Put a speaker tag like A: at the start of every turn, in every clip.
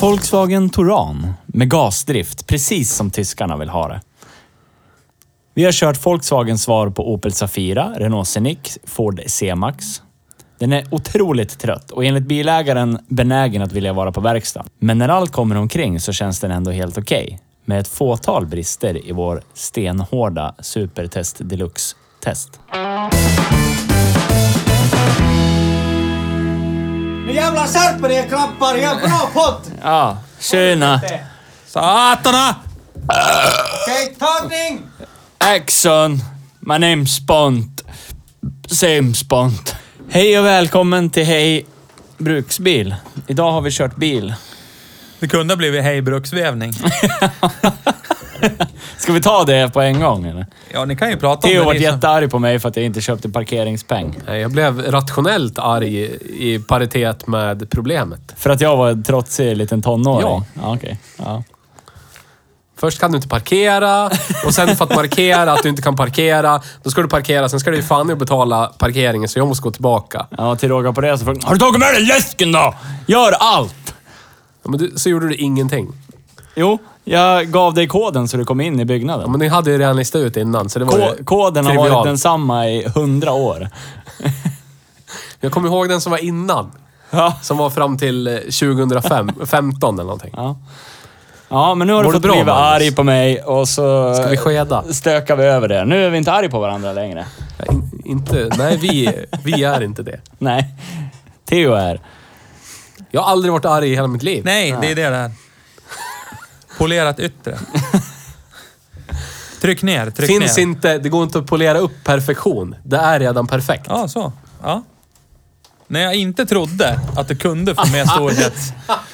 A: Volkswagen Touran med gasdrift, precis som tyskarna vill ha det. Vi har kört Volkswagens svar på Opel Zafira, Renault Scenic, Ford C-Max. Den är otroligt trött och enligt bilägaren benägen att vilja vara på verkstaden. Men när allt kommer omkring så känns den ändå helt okej. med ett fåtal brister i vår stenhårda Supertest Deluxe-test.
B: Nu jävla skärper er grabbar, jag har bra pott!
A: Ja, tjena!
C: Satana!
B: Okej, tagning!
A: Action! My name's Bond. Same's Bond. Hej och välkommen till Hej Bruksbil. Idag har vi kört bil.
C: Det kunde ha blivit Hej Bruksvävning.
A: Ska vi ta det på en gång eller?
C: Ja, ni kan ju prata
A: Theo
C: om det.
A: varit
C: ni som-
A: jättearg på mig för att jag inte köpte parkeringspeng.
D: Nej, Jag blev rationellt arg i paritet med problemet.
A: För att jag var en trotsig liten tonåring?
D: Ja.
A: ja okej. Ja.
D: Först kan du inte parkera och sen för att markera att du inte kan parkera, då ska du parkera. Sen ska du ju fan i att betala parkeringen så jag måste gå tillbaka.
A: ja, till råga på det så frågade Har du tagit med dig läsken då? Gör allt!
D: Ja, men du, så gjorde du ingenting.
A: Jo, jag gav dig koden så du kom in i
D: Ja,
A: byggnaden.
D: men ni hade ju redan listat ut innan så det var
A: Ko-
D: ju
A: koden har varit
D: trivialt.
A: densamma i hundra år.
D: Jag kommer ihåg den som var innan.
A: Ja.
D: Som var fram till 2015 eller någonting.
A: Ja. ja, men nu har
D: Mår
A: du
D: du
A: fått
D: bra,
A: blivit
D: Magnus?
A: arg på mig och så
D: Ska vi skeda?
A: stökar vi över det. Nu är vi inte arg på varandra längre.
D: Ja, In, inte, nej, vi, vi är inte det.
A: Nej. Theo är.
D: Jag har aldrig varit arg i hela mitt liv.
C: Nej, det är det där. Polerat yttre. Tryck ner, tryck
D: Finns
C: ner.
D: inte, det går inte att polera upp perfektion. Det är redan perfekt.
C: Ja, så. Ja. När jag inte trodde att du kunde få med storhet,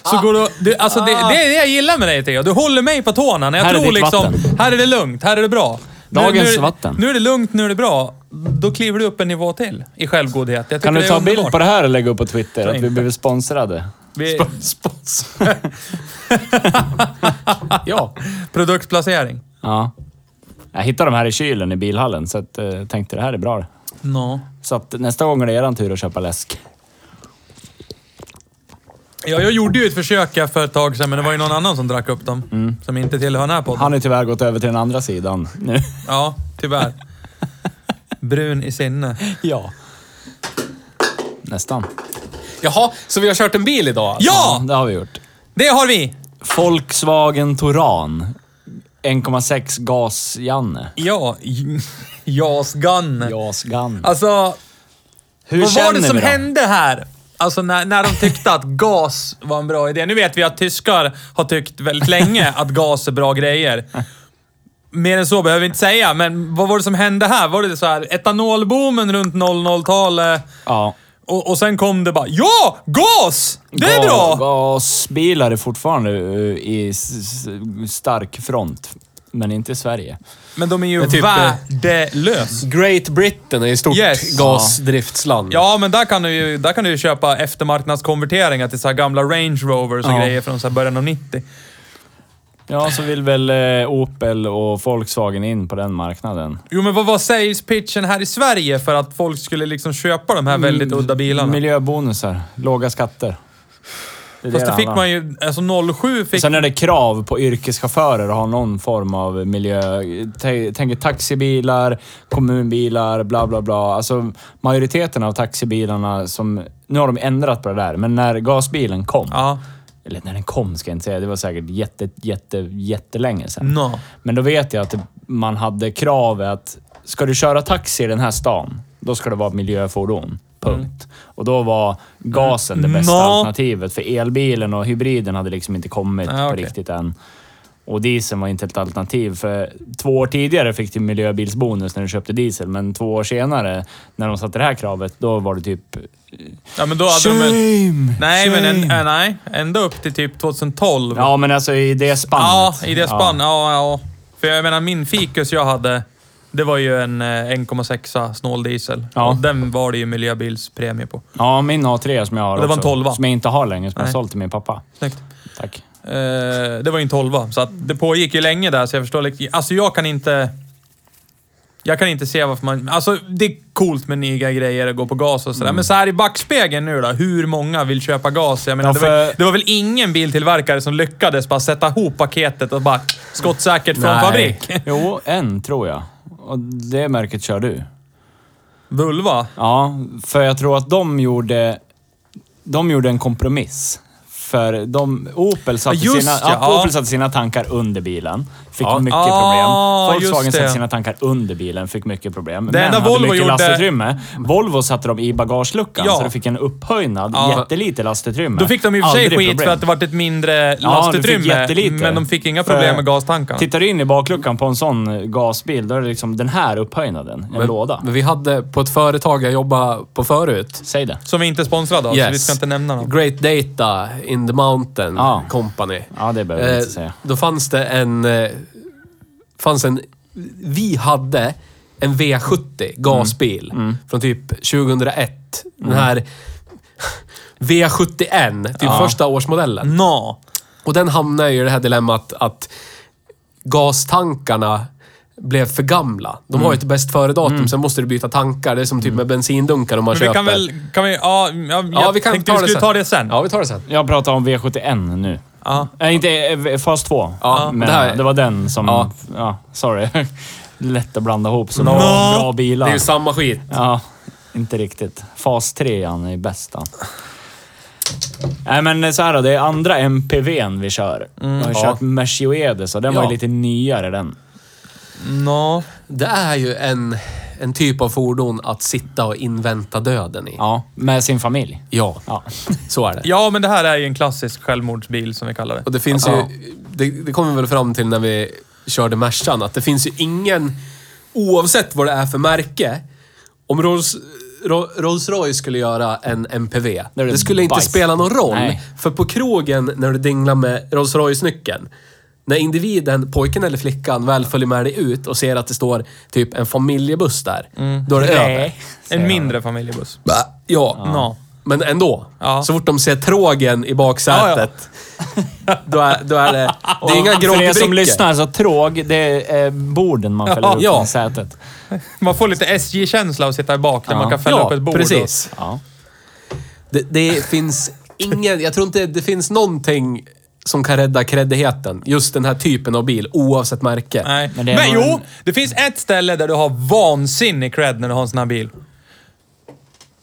C: så går du... du alltså det, det är det jag gillar med dig Theo. Du håller mig på tårna när jag
A: Här är
C: tror
A: ditt
C: liksom...
A: vatten.
C: Här är det lugnt, här är det bra. Nu-
A: Dagens
C: nu, är det-
A: vatten.
C: Nu är det lugnt, nu är det bra. Då kliver du upp en nivå till i självgodhet. Jag tycker
A: Kan du
C: det
A: ta
C: är
A: bild
C: underbart.
A: på det här och lägga upp på Twitter?
C: Tror
A: Att vi
C: inte.
A: blivit sponsrade.
C: Vi,
D: Spons. ja.
C: produktplacering.
A: Ja. Jag hittade de här i kylen i bilhallen så att, eh, tänkte det här är bra.
C: No.
A: Så att nästa gång är det eran tur att köpa läsk.
C: Ja, jag gjorde ju ett försök här för ett tag sedan, men det var ju någon annan som drack upp dem. Som inte tillhör den här podden.
A: Han har tyvärr gått över till den andra sidan nu.
C: Ja, tyvärr. Brun i sinne.
A: ja. Nästan.
D: Jaha, så vi har kört en bil idag? alltså?
C: Ja!
A: Det har vi gjort.
C: Det har vi!
A: Volkswagen Touran. 1,6 gas-Janne.
C: Ja, Jas Gunn.
A: Gas-Ganne.
C: Alltså, vad
A: Hur
C: var det
A: känner
C: som
A: vi då?
C: hände här? Alltså när, när de tyckte att gas var en bra idé. Nu vet vi att tyskar har tyckt väldigt länge att gas är bra grejer. Mer än så behöver vi inte säga, men vad var det som hände här? Var det så här etanolboomen runt 00-talet?
A: Ja.
C: Och, och sen kom det bara Ja! Gas! Det är
A: Ga-
C: bra!
A: Gasbilar är fortfarande eh, i s- s- stark front, men inte i Sverige.
C: Men de är ju
D: är typ, eh,
C: värdelös.
D: Great Britain är ju stort
C: Yes.
D: gasdriftsland.
C: Ja, men där kan du ju, där kan du ju köpa eftermarknadskonverteringar till så här gamla Range Rovers och
A: Ja.
C: grejer från så här början av 90.
A: Ja, så vill väl eh, Opel och Volkswagen in på den marknaden.
C: Jo, men vad var sales pitchen här i Sverige för att folk skulle liksom köpa de
A: Mm,
C: här väldigt udda bilarna?
A: Miljöbonusar, låga skatter. är
C: Fast det fick
A: handlar om.
C: man ju... Alltså 07 fick...
A: Sen är det krav på yrkeschaufförer att ha någon form av miljö... Tä- Tänk taxibilar, kommunbilar, bla bla bla. Alltså majoriteten av taxibilarna som... Nu har de ändrat på det där, men när gasbilen kom.
C: Ja.
A: Eller när den kom ska jag inte säga. Det var säkert jätte, jätte, jättelänge sedan.
C: No.
A: Men då vet jag att man hade kravet att ska du köra taxi i den här stan, då ska det vara miljöfordon. Punkt.
C: Mm.
A: Och då var gasen det bästa
E: Nå.
A: alternativet, för elbilen och hybriden hade liksom inte kommit
E: Ah,
A: på
E: okej.
A: riktigt än. Och dieseln var inte ett alternativ, för två år tidigare fick du miljöbilsbonus när du köpte diesel, men två år senare, när de satte det här kravet, då var det typ...
C: Ja, men då hade de en, Nej, men en, äh, nej. Ända upp till typ 2012.
A: Ja, men alltså i det
C: Ja,
A: spannet.
C: i det spann. Ja. ja, För jag menar, min Ficus jag hade, det var ju en eh, 1,6 snåldiesel.
A: Ja.
C: Och den var det ju miljöbilspremie på.
A: Ja, min A3 som jag har
C: Det var en
A: också,
C: tolva.
A: Som jag inte har längre, som jag
C: Nej.
A: sålt till min pappa.
C: Snyggt.
A: Tack.
C: Eh, det var ju en tolva, så att det pågick ju länge där, så jag förstår liksom- Alltså jag kan inte... Jag kan inte se varför man... Alltså det är coolt med nya grejer och gå på gas och
A: Mm.
C: sådär. Men så här i backspegeln nu då, hur många vill köpa gas? Jag menar, det,
A: Ja,
C: var,
A: för-
C: det var väl ingen biltillverkare som lyckades bara sätta ihop paketet och bara skottsäkert från
D: Nej.
C: fabrik?
A: Jo, en tror jag. Och det märket kör du.
C: Vulva?
A: Ja, för jag tror att de gjorde, de gjorde en kompromiss. För de, Opel, satte
C: Ja, just
A: sina,
C: ja,
A: ja,
C: ja.
A: Opel satte sina tankar under bilen. Fick mycket
C: Ah,
A: problem. Volkswagen
C: just det.
A: satte sina tankar under bilen. Fick mycket problem. Det
C: enda
A: men hade
C: Volvo
A: mycket
C: gjorde-
A: lastutrymme. Volvo satte dem i bagageluckan
C: Ja.
A: så du fick en upphöjnad,
C: Ja.
A: jättelite lastutrymme.
C: Då fick de i och för sig skit
A: Aldrig
C: för
A: problem.
C: att det var ett mindre
A: Ja, du fick
C: lastutrymme.
A: jättelite.
C: men de fick inga
A: För
C: problem med gastankarna.
A: Tittar du in i bakluckan på en sån eh, gasbil, då är det liksom den här upphöjnaden. En låda.
D: Men vi hade på ett företag jag jobbade på förut.
A: Säg det.
C: Som vi inte är sponsrade av, så Alltså, vi ska inte nämna dem.
D: Great Data in the Mountain
A: Ja.
D: Company. Eh,
A: Ja, det behöver vi inte säga.
D: Då fanns det en... eh, Fanns en... Vi hade en V70 gasbil
A: Mm.
D: från typ 2001. Den här V71, typ första årsmodellen.
C: Nå.
D: Och den hamnade ju i det här dilemmat att gastankarna blev för gamla. De
A: Mm.
D: har ju ett bäst före-datum, sen måste du byta tankar. Det är som typ med bensindunkar om man
C: Men
D: köper.
C: vi kan väl... Kan vi, ja, ja, jag
D: vi kan
C: tänkte
D: ta
C: vi
D: det
C: skulle
D: sen.
C: ta det sen.
D: Ja, vi tar det sen.
A: Jag pratar om V71 nu.
C: Ja.
A: Nej, inte eh, fas 2.
D: Ja,
A: men
D: det
A: det,
D: här-
A: var den som...
D: Ja.
A: Ja. sorry. Lätt att blanda ihop så bra,
C: Nå.
A: bra bilar.
D: Det är ju samma skit.
A: Ja, inte riktigt. Fas 3 är bäst han. Nej men eh, så här då, det är andra MPVn vi kör. jag har kört Mercedes och den var
D: Mm. Ja.
A: ju lite nyare den.
C: Nå.
D: Det är ju en, en typ av fordon att sitta och invänta döden i.
A: Ja, med sin familj.
D: Ja,
A: Ja.
D: så är det.
C: Ja, men det här är ju en klassisk självmordsbil som vi kallar det.
D: Och det finns
A: Ja.
D: ju... Det, det kommer vi väl fram till när vi körde Mercan, att det finns ju ingen... Oavsett vad det är för märke, om Rolls, Ro- Rolls-Royce skulle göra en MPV,
A: är det
D: det skulle inte
A: bajs.
D: spela någon roll.
A: Nej.
D: För på krogen, när du dinglar med Rolls-Royce-nyckeln, när individen, pojken eller flickan, väl följer med dig ut och ser att det står typ en familjebuss där,
A: Mm.
D: då är det över.
C: En mindre familjebuss.
D: Äh, Ja.
C: Nå.
D: Men ändå.
C: Ja.
D: Så fort de ser trågen i baksätet, Då, är, då är det... Det är inga
A: För er som
D: groggbrickor.
A: lyssnar, så tråg, det är eh, borden man fäller upp
D: Ja.
A: i sätet.
C: Man får lite SJ-känsla av att sitta i bak där man kan fälla upp ett bord.
D: precis.
A: Ja.
D: Det, det finns ingen... Jag tror inte det finns någonting som kan rädda kreddigheten. Just den här typen av bil, oavsett märke.
C: Och, nej.
A: Men
C: Men,
A: det är nog
C: jo,
A: en-
C: det finns ett ställe där du har vansinnig cred när du har en sån här bil.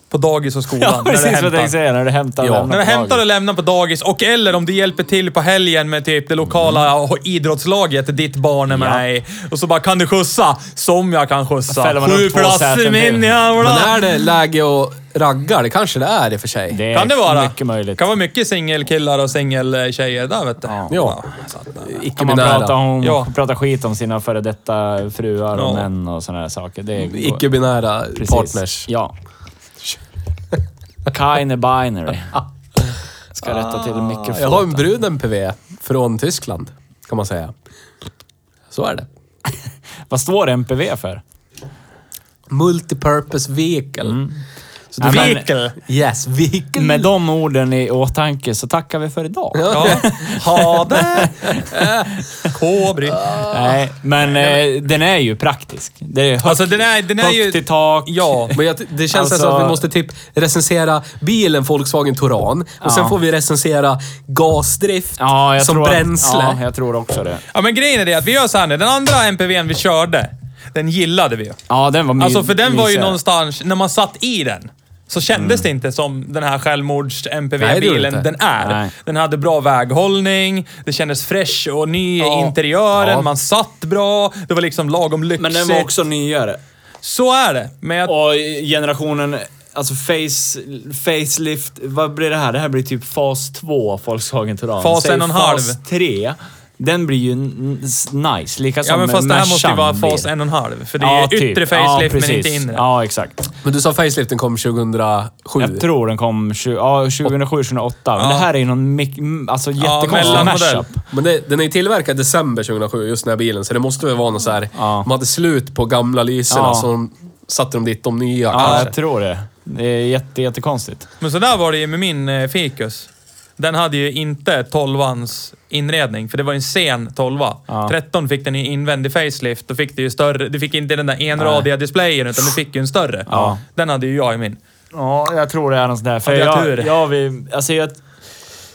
C: På dagis och skolan.
A: Ja,
C: när du
A: precis vad jag
C: hämtar.
A: tänkte säga. När du hämtar och
D: Ja.
A: lämnar
C: När du
A: på
C: hämtar och
A: dagis.
C: lämnar på dagis och eller om du hjälper till på helgen med typ det lokala
A: Mm.
C: idrottslaget ditt barn är med i. Och så bara, kan du skjutsa? Som jag kan
A: Fäller
C: skjutsa.
A: man
C: Sju
A: upp två
C: plats i
A: säten
C: min
A: till.
C: jävla...
D: Men är det läge att ragga? Det kanske det är i och för sig.
A: Det är
C: Kan det vara.
A: mycket möjligt.
C: kan vara mycket singelkillar och singeltjejer där vet du. Ja. så att,
A: Kan man prata,
D: Icke-binära.
A: om,
C: Ja.
A: prata skit om sina före detta fruar
C: Ja.
A: och män och sådana här saker. Det är
D: Icke-binära
A: Precis.
D: partners.
A: Ja. Keine binary. Ska rätta till mikrofonen.
D: Ah, Jag har en brud MPV från Tyskland, kan man säga. Så är det.
A: Vad står MPV för?
D: Multipurpose vehicle. Så
A: Ja,
D: du-
A: men-
C: Vehicle.
D: Yes, vehicle.
A: Med de orden i åtanke så tackar vi för idag.
C: Ja. Ha det! Kobri.
A: Nej, men eh, den är ju praktisk. Det är högt,
C: Alltså den är, den är
A: högt
C: ju...
A: i tak.
C: Ja.
D: Men jag, det känns
A: Alltså-
D: nästan som att vi måste typ recensera bilen Volkswagen Touran och sen
A: Ja.
D: får vi recensera gasdrift
A: Ja, jag
D: som
A: tror
D: bränsle.
A: Att, ja, jag tror också det.
C: ja, men grejen är det att vi gör så här nu. Den andra MPVn vi körde, den gillade vi ju.
A: Ja, den var my-
C: Alltså för den var ju
A: mysigare.
C: någonstans, när man satt i den, så kändes
A: Mm.
C: det inte som den här
D: Nej, det gjorde det
C: självmords-MPV-bilen
D: inte.
C: den är.
A: Nej.
C: Den hade bra väghållning, det kändes fresh och ny i
A: Ja.
C: interiören,
D: Ja.
C: man satt bra, det var liksom lagom lyxigt.
A: Men den var också nyare.
C: Så är det. Men jag,
A: Och generationen, alltså face, facelift, vad blir det här? Det här blir typ fas 2 Volkswagen Touran.
C: Fas
A: Säg
C: en och en
A: Fas
C: halv.
A: 3, den blir ju n- s- nice. Lika som
C: ja, men fast det här måste ju
A: Mercan
C: vara fas
A: blir.
C: en och en halv. För det är
A: Ja, typ.
C: yttre facelift
A: ja,
C: men inte
A: precis.
C: inre.
A: Ja, exakt.
D: Men du sa faceliften kom 2007.
A: Jag tror den kom 20, ja, 2007, 2008. Men det här är ju någon mik- m- alltså, jättekonstig
C: mellanmodell.
A: mashup.
D: Men det, den är ju tillverkad december 2007, just den här bilen. Så det måste väl vara någon så här...
A: Ja.
D: De hade slut på gamla lyserna,
A: Ja.
D: så de, satte de dit de nya
A: Ja,
D: kanske.
A: jag tror det. Det är jätte, jättekonstigt.
C: Men så där var det ju med min eh, Ficus. Den hade ju inte 12ans inredning, för det var ju en sen 12
A: Ja.
C: 13 fick den ju invändig facelift. Då fick du ju större. Du fick inte den där enradiga displayen, utan du fick ju en större.
A: Ja.
C: Den hade ju jag i min.
A: Ja, jag tror det är något sånt där. För
C: Ja, det är
A: jag,
C: tur.
A: jag, vi, alltså jag,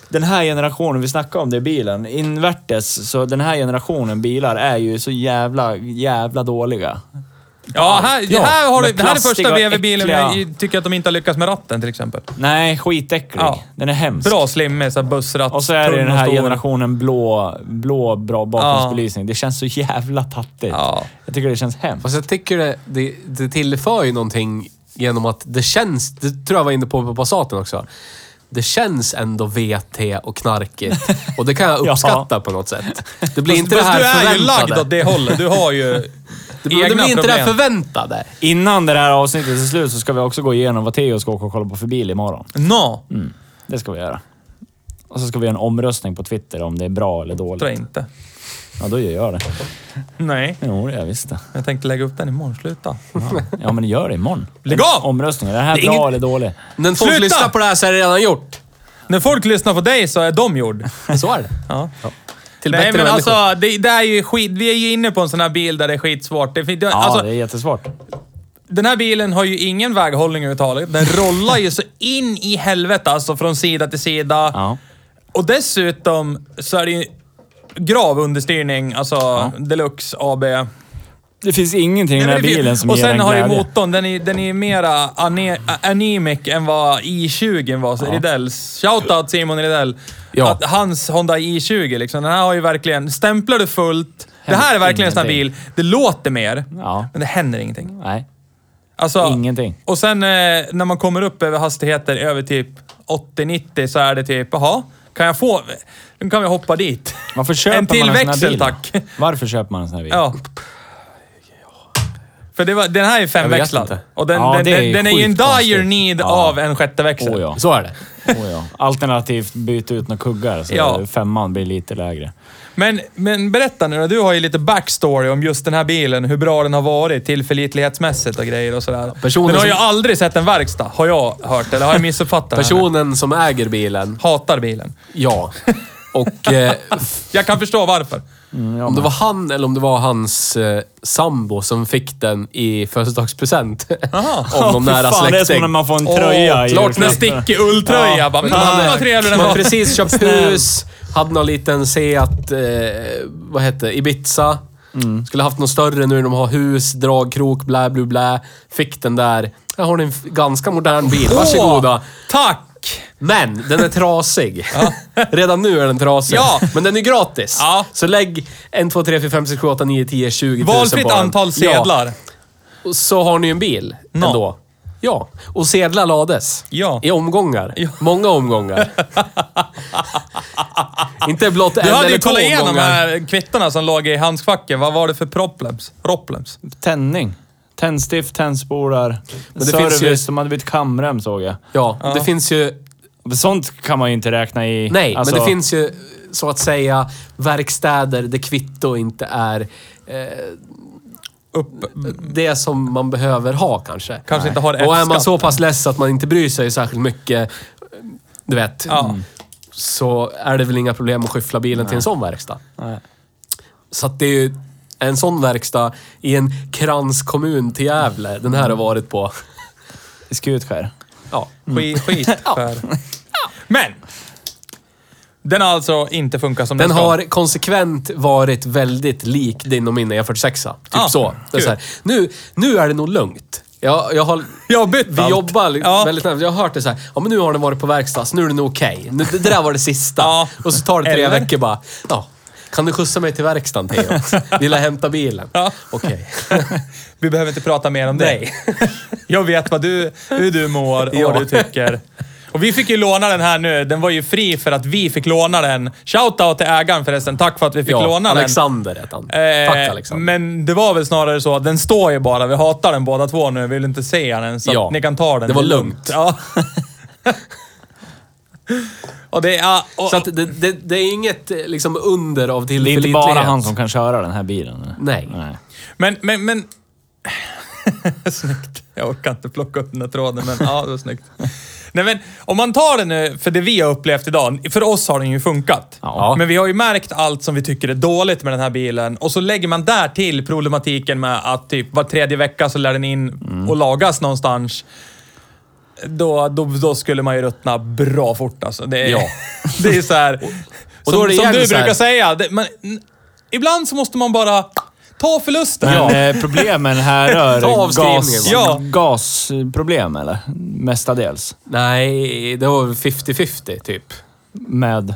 A: den här generationen, vi snackade om det i bilen, invertes, så den här generationen bilar är ju så jävla, jävla dåliga.
C: Ja, här,
A: Ja,
C: här har du,
A: med
C: det här är första
A: plastiga,
C: VW-bilen jag
A: äckliga-
C: tycker att de inte har lyckats med ratten till exempel.
A: Nej, skitäcklig.
C: Ja.
A: Den är hemsk.
C: Bra slimmig, så här bussratt.
A: Och så är det
C: tunn
A: den
C: och
A: här
C: stor.
A: generationen blå, blå bra bakgrundsbelysning. Det känns så jävla tattigt.
C: Ja.
A: Jag tycker det känns hemskt.
D: Fast jag tycker det, det, det tillför ju någonting genom att det känns, det tror jag var inne på på Passaten också, det känns ändå VT och knarkigt. Och det kan jag
A: Ja.
D: uppskatta på något sätt. Det blir inte det
C: Fast
D: här
C: du är ju lagd
D: förväntade.
C: åt det hållet. Du har ju
D: det, blir-
C: egna
D: det blir inte det här
C: problem.
D: förväntade.
A: Innan det här avsnittet är slut så ska vi också gå igenom vad Theo ska åka och kolla på för bil imorgon.
C: Nå,
A: Mm. Det ska vi göra. Och så ska vi göra en omröstning på Twitter om det är bra eller dåligt.
C: tror jag inte.
A: Ja, då gör jag det.
C: Nej,
A: Jo, det gör jag visst det.
C: jag tänkte lägga upp den imorgon. Sluta.
A: Ja, men gör det imorgon.
C: Lägg av!
A: Omröstningen. Är det här
D: Det är
A: bra
D: ingen-
A: eller dåligt?
D: När folk
C: Sluta!
D: lyssnar på det här så är det redan gjort.
C: När folk lyssnar på dig så är de gjord.
D: Så är det.
C: Ja.
D: Till
C: Nej,
D: bättre
C: men
D: människor.
C: alltså, det, det är ju skit, vi är ju inne på en sån här bil där det är skitsvårt. Det, fin- det,
A: Ja,
C: alltså,
A: det är jättesvårt.
C: Den här bilen har ju ingen väghållning överhuvudtaget. Den rollar ju så in i helvete, alltså från sida till sida.
A: Ja.
C: Och dessutom så är det ju grav understyrning, alltså deluxe AB.
A: Det finns ingenting i den här
C: Nej, men det-
A: bilen som
C: och
A: ger en
C: sen har
A: glädje.
C: ju motorn, den är, den är mera ane, anemic än vad i20 var. Så Ridells. Shoutout Simon Ridell.
D: Ja.
C: Att hans Honda i20 liksom. Den här har ju verkligen... Stämplar du fullt. Det här är verkligen en sån här bil.
A: ingenting.
C: Det låter mer,
A: Ja.
C: men det händer ingenting.
A: Nej,
C: Alltså,
A: Ingenting.
C: Och sen eh, när man kommer upp över hastigheter över typ 80-90 så är det typ, jaha, kan jag få... Nu kan vi hoppa dit.
A: varför köper
C: en till
A: man en sån här
C: växel,
A: bil?
C: tack.
A: Varför köper man en sån här bil?
C: Ja. För det var, den här är
D: Jag
C: femväxlad.
D: vet inte.
C: Och den,
A: Ja,
C: den,
A: det är
C: den, den är ju en dire
A: skitkonstigt.
C: need
A: Ja.
C: av en sjätte växel.
A: Oh, ja.
D: Så är det.
A: Oh, ja. Alternativt byta ut några kuggar så
C: Ja.
A: femman blir lite lägre.
C: men, men berätta nu då, du har ju lite backstory om just den här bilen, hur bra den har varit tillförlitlighetsmässigt och grejer och sådär.
D: personen
C: den har ju
D: som-
C: aldrig sett en verkstad, har jag hört. Eller har jag missuppfattat Person...
D: Personen som äger bilen,
C: Hatar bilen.
D: ja. Och eh,
C: Jag kan förstå varför.
D: om det var han eller om det var hans eh, sambo som fick den i födelsedagspresent. Om någon
A: Fy
D: nära
A: fan, det är som när
D: släkting.
A: man får en tröja i
D: klart,
C: Med
A: julklapp.
C: stickig ulltröja.
D: Ja.
C: bara,
D: Men
C: men
D: han-
C: vad trevlig den
D: Man har
C: var.
D: precis köpt hus, hade någon liten Seat, eh, vad hette det, Ibiza. Skulle haft någon större nu när de har hus, dragkrok, blä, blä, blä. Fick den där. Här har ni en f- ganska modern bil, varsågoda.
C: Tack!
D: Men den är trasig. Redan nu är den trasig.
C: Ja.
D: Men den är gratis.
C: Ja.
D: Så lägg 1, 2, 3, 4, 5, 6, 7, 8, 9, 10, 20 000
C: Valfritt
D: på den.
C: antal sedlar.
D: Ja, och så har ni ju en bil
C: Ja.
D: ändå. Ja, och sedlar lades.
C: Ja.
D: I omgångar. Många omgångar. Inte blott en
C: Du hade
D: eller
C: ju
D: två
C: kollat igenom de
D: omgångar.
C: här kvittorna som låg i handskfacken. Vad var det för problems? Ropplems?
A: Tändning. Tändstift, tändspolar,
D: det
A: service.
D: finns ju-
A: De hade bytt kamrem såg jag.
D: Ja, det finns ju...
A: Sånt kan man ju inte räkna i.
D: Nej,
A: Alltså-
D: men det finns ju så att säga verkstäder där kvitto inte är eh,
C: Upp.
D: det som man behöver ha kanske.
C: Kanske inte har
D: Och är man
C: F-skatt.
D: så pass less att man inte bryr sig särskilt mycket, du vet, mm,
C: Ja.
D: så är det väl inga problem att skyffla bilen till en sån verkstad.
A: Nej.
D: Så att det är ju en sån verkstad i en kranskommun till Gävle den här har varit på.
A: Skutskär.
D: Ja.
C: Skit, skit för. Men! Den har alltså inte funkat som den,
D: Den
C: ska.
D: har konsekvent varit väldigt lik din och min E46. Typ
C: Ah,
D: så. Det är
C: kul.
D: så här. Nu, nu är det nog lugnt. Jag, jag har,
C: Jag har bytt
D: vi
C: allt.
D: jobbar
C: Ja.
D: väldigt nära. Jag har hört det så här. Ja, men nu har den varit på verkstad, så nu är den okej. Nu- Det, det där var det sista.
C: Ja.
D: Och så tar det tre
C: Eller?
D: veckor bara. Ja. Kan du skjutsa mig till verkstaden, Theo? Vill jag hämta bilen?
C: Ja.
D: Okej.
C: Vi behöver inte prata mer om dig. Jag vet vad du, hur du mår och vad du tycker. Och vi fick ju låna den här nu. Den var ju fri för att vi fick låna den. Shoutout till ägaren förresten. Tack för att vi fick
D: Ja,
C: låna den.
D: Alexander hette han.
C: Eh,
D: Tack, Alexander.
C: Men det var väl snarare så att den står ju bara. Vi hatar den båda två nu. Vi vill inte se den. Så
D: Ja.
C: att ni kan ta den.
D: Det var
C: är
D: lugnt.
C: Ja. och det är... Och,
D: Så att det, det, det är inget eh, liksom under av
A: Det är
D: tillförlitlighet.
A: inte bara han som kan köra den här bilen. eller?
D: Nej.
A: Nej.
C: men, men, men... snyggt. Jag orkar inte plocka upp den där tråden, men ja, det var snyggt. Nej, men om man tar den nu, för det vi har upplevt idag. För oss har den ju funkat.
A: Ja.
C: Men vi har ju märkt allt som vi tycker är dåligt med den här bilen. Och så lägger man där till problematiken med att typ var tredje vecka så lär den in
D: Mm.
C: och lagas någonstans. Då, då, då skulle man ju ruttna bra fort alltså. Det är,
D: Ja.
C: det är så här.
D: och då
C: som
D: är det
C: som
D: igen
C: du
D: så här-
C: brukar säga. Det, man, n- ibland så måste man bara ta förlusten.
A: Men eh, problemen här
D: Ta
A: rör
D: avskrivningen
A: gas,
D: bara.
C: Ja.
A: gasproblem, eller? Mestadels.
D: Nej, det var väl 50-50 typ.
A: Med...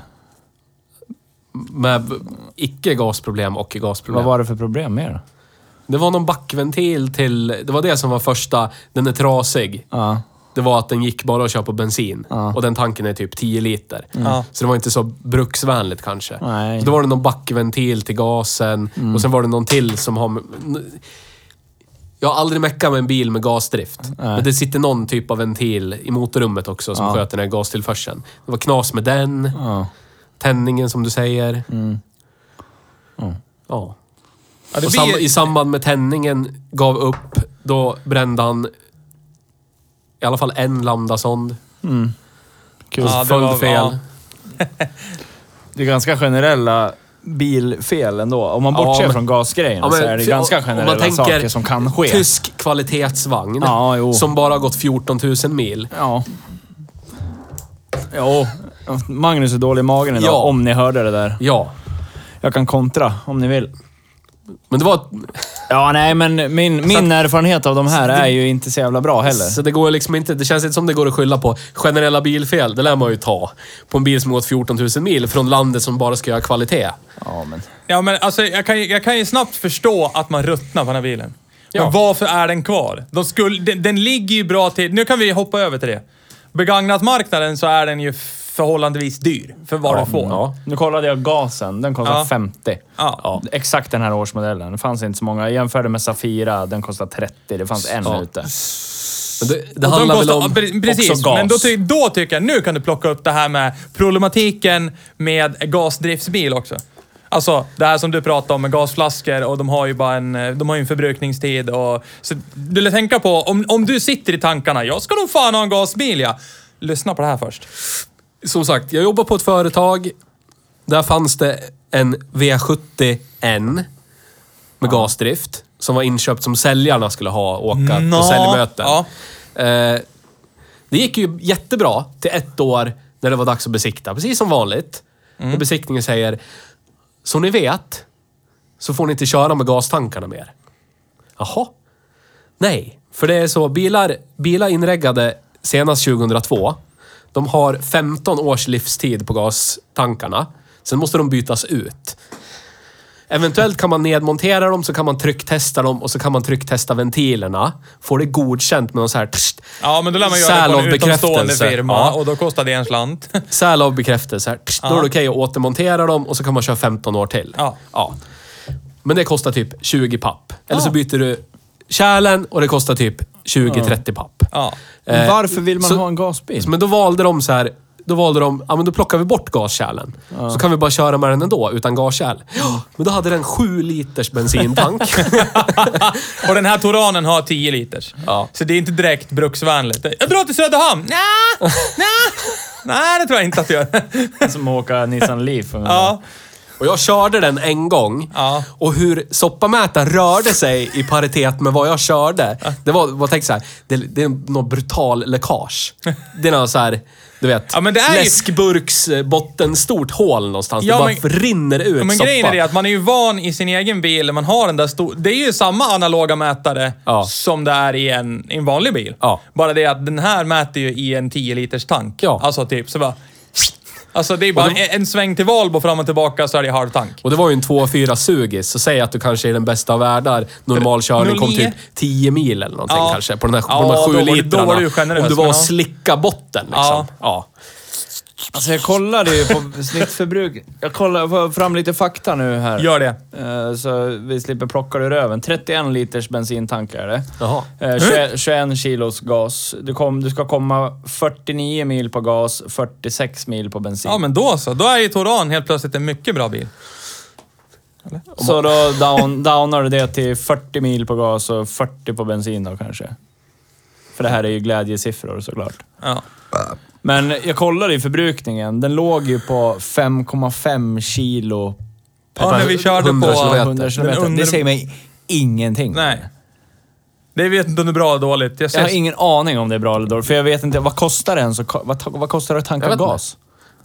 D: Med b- icke gasproblem och gasproblem.
A: Vad var det för problem mer? då?
D: Det var någon backventil till... Det var det som var första, den är trasig.
A: Ja.
D: Det var att den gick bara att köra på bensin. Och den tanken är typ 10 liter.
C: Ja.
D: Så det var inte så bruksvänligt kanske.
A: Mm. Nej. Mm.
D: Så då var det någon backventil till gasen. Och sen var det någon till som har... Jag har aldrig meckat med en bil med gasdrift. Men det sitter någon typ av ventil i motorrummet också som sköter den här gastillförseln. Det var knas med den.
A: Ja. Mm.
D: Tändningen som du säger. Ja.
C: Ja, det
D: Och sam
C: blir-
D: I samband med tändningen gav upp, då brände han i alla fall en lambdasond.
A: Kul.
C: Ja, det
D: Följd
C: var-
D: fel.
C: ja.
A: Det är ganska generella bilfel ändå. Om man
D: Ja,
A: bortser
D: men-
A: från gasgrejen
D: Ja, men
A: så är det
D: för-
A: ganska
D: om man
A: generella
D: tänker
A: saker som kan ske.
D: Tysk kvalitetsvagn
A: Ja, jo.
D: som bara har gått 14 000 mil.
A: Ja. Jo. Magnus är dålig i magen idag,
D: Ja.
A: om ni hörde det där.
D: Ja,
A: Jag kan kontra om ni vill.
D: men det var...
A: Ja, nej, men min, min erfarenhet av de här är ju inte så jävla bra heller.
D: Så det går liksom inte... Det känns inte som det går att skylla på. Generella bilfel, det lär man ju ta. På en bil som gått 14 000 mil från landet som bara ska göra kvalitet.
A: Ja, men...
C: Ja, men alltså, jag, kan, ju- jag kan ju snabbt förstå att man ruttnar på den här bilen.
D: Ja.
C: Men varför är den kvar? De skulle, den, den ligger ju bra till... Nu kan vi hoppa över till det. Begagnatmarknaden så är den ju förhållandevis dyr för vad du får.
D: Ja.
A: Mm. Nu kollade jag gasen. Den kostar
C: Ja.
A: 50.
C: Ja.
A: Exakt den här årsmodellen. Det fanns inte så många. Jag jämförde med Safira. Den kostar 30. Det fanns en
D: Ja.
A: ute.
D: Men det det
C: Och de
D: handlar
C: kostar-
D: väl om...
C: ja, pre- Precis,
A: också gas.
C: men då, ty, då tycker jag nu kan du plocka upp det här med problematiken med gasdriftsbil också. Alltså det här som du pratade om med gasflaskor och de har ju bara en, eh, de har ju en förbrukningstid och... Så du lär tänka på, om, om du sitter i tankarna, jag ska nog fan ha en gasbil ja. Lyssna på det här först.
D: Som sagt, jag jobbar på ett företag. Där fanns det en V70N med gasdrift. Som var inköpt som säljarna skulle ha Mm. och åka
C: Nå,
D: på säljmöten.
C: ja.
D: Eh, det gick ju jättebra till ett år när det var dags att besikta. Precis som vanligt.
C: Mm.
D: Och besiktningen säger, som ni vet så får ni inte köra med gastankarna mer. Jaha? Nej, för det är så. Bilar, bilar inreggade senast 2002, de har 15 års livstid på gastankarna. Sen måste de bytas ut. Eventuellt kan man nedmontera dem, så kan man trycktesta dem och så kan man trycktesta ventilerna. Får det godkänt med någon så här... Tssst,
C: Ja, men då lär man göra det på en
D: Sälavbekräftelse.
C: utomstående firma
D: Ja.
C: och då kostar det en slant.
D: Säl av bekräftelse. här. Tsch, Då är det okej att återmontera dem och så kan man köra 15 år till.
C: Ja.
D: Men det kostar typ 20 papp. Eller så byter du kärlen och det kostar typ 20-30 papp.
C: Ja.
D: Eh,
A: Varför vill man
D: så-
A: ha en gasbil?
D: Men då valde de så här. Då valde de, ja men då plockar vi bort gaskärlen. Så kan vi bara köra med den ändå, utan gaskärl. Ja, men då hade den 7 liters bensintank.
C: Och den här Toranen har 10 liters.
D: Ja.
C: Så det är inte direkt bruksvänligt. Jag drar till Söderhamn! Nja, nja. Nej, det tror jag inte att jag gör.
A: Som att åka Nissan Leaf.
C: Ja.
D: och jag körde den en gång.
C: Ja.
D: Och hur soppamätaren rörde sig i paritet med vad jag körde. Det var, var tänkt så här, det, det är något brutal läckage. Det är något så här, du vet,
C: Ja, men det är ju-
D: läskburksbotten, stort hål någonstans.
C: Ja,
D: det bara
C: men-
D: rinner ut
C: Ja, men
D: soppa.
C: grejen är det att man är ju van i sin egen bil, när man har den där stor... Det är ju samma analoga mätare
D: Ja.
C: som det är i en, i en vanlig bil.
D: Ja.
C: Bara det att den här mäter ju i en 10 liters tank.
D: Ja.
C: Alltså typ så bara... Alltså det är bara en sväng till Valbo fram och tillbaka så är det halvtank.
D: Och det var ju en 2-4 sugis, så säg att du kanske är den bästa av världar. Normal körning kom
C: 09.
D: typ 10 mil eller någonting
C: Ja.
D: kanske, på, den här, på
C: Ja,
D: de här
C: då
D: 7
C: var du- då
D: litrarna.
C: var du ju generös,
D: Om du var
C: men
D: och
C: ja.
D: slicka botten liksom.
C: Ja.
D: Ja.
A: Alltså jag kollade ju på snittförbruk. Jag kollar får fram lite fakta nu här.
C: Gör det.
A: Eh, Så vi slipper plocka det ur röven. 31 liters bensintank är det.
D: Jaha.
A: Eh, 21, 21 kilos gas. Du, kom, du ska komma 49 mil på gas, 46 mil på bensin.
C: Ja, men då så. Då är ju Toran helt plötsligt en mycket bra bil.
A: Så då down, downar du det till 40 mil på gas och 40 på bensin då kanske. För det här är ju glädjesiffror såklart.
C: Ja.
A: Men jag kollade i förbrukningen. Den låg ju på 5,5 kilo
C: Ja, när vi körde
D: 100
C: på...
A: per
D: kilometer.
A: 100 Typ kilometer.
C: Men under-
A: Det säger mig ingenting.
C: Nej. Det vet inte om det är bra eller dåligt. Jag
A: Jag har
C: ses.
A: ingen aning om det är bra eller dåligt, för jag vet inte. Vad kostar det ens? att ko- Vad, ta- vad kostar det att tanka
D: Jag vet inte.
A: gas?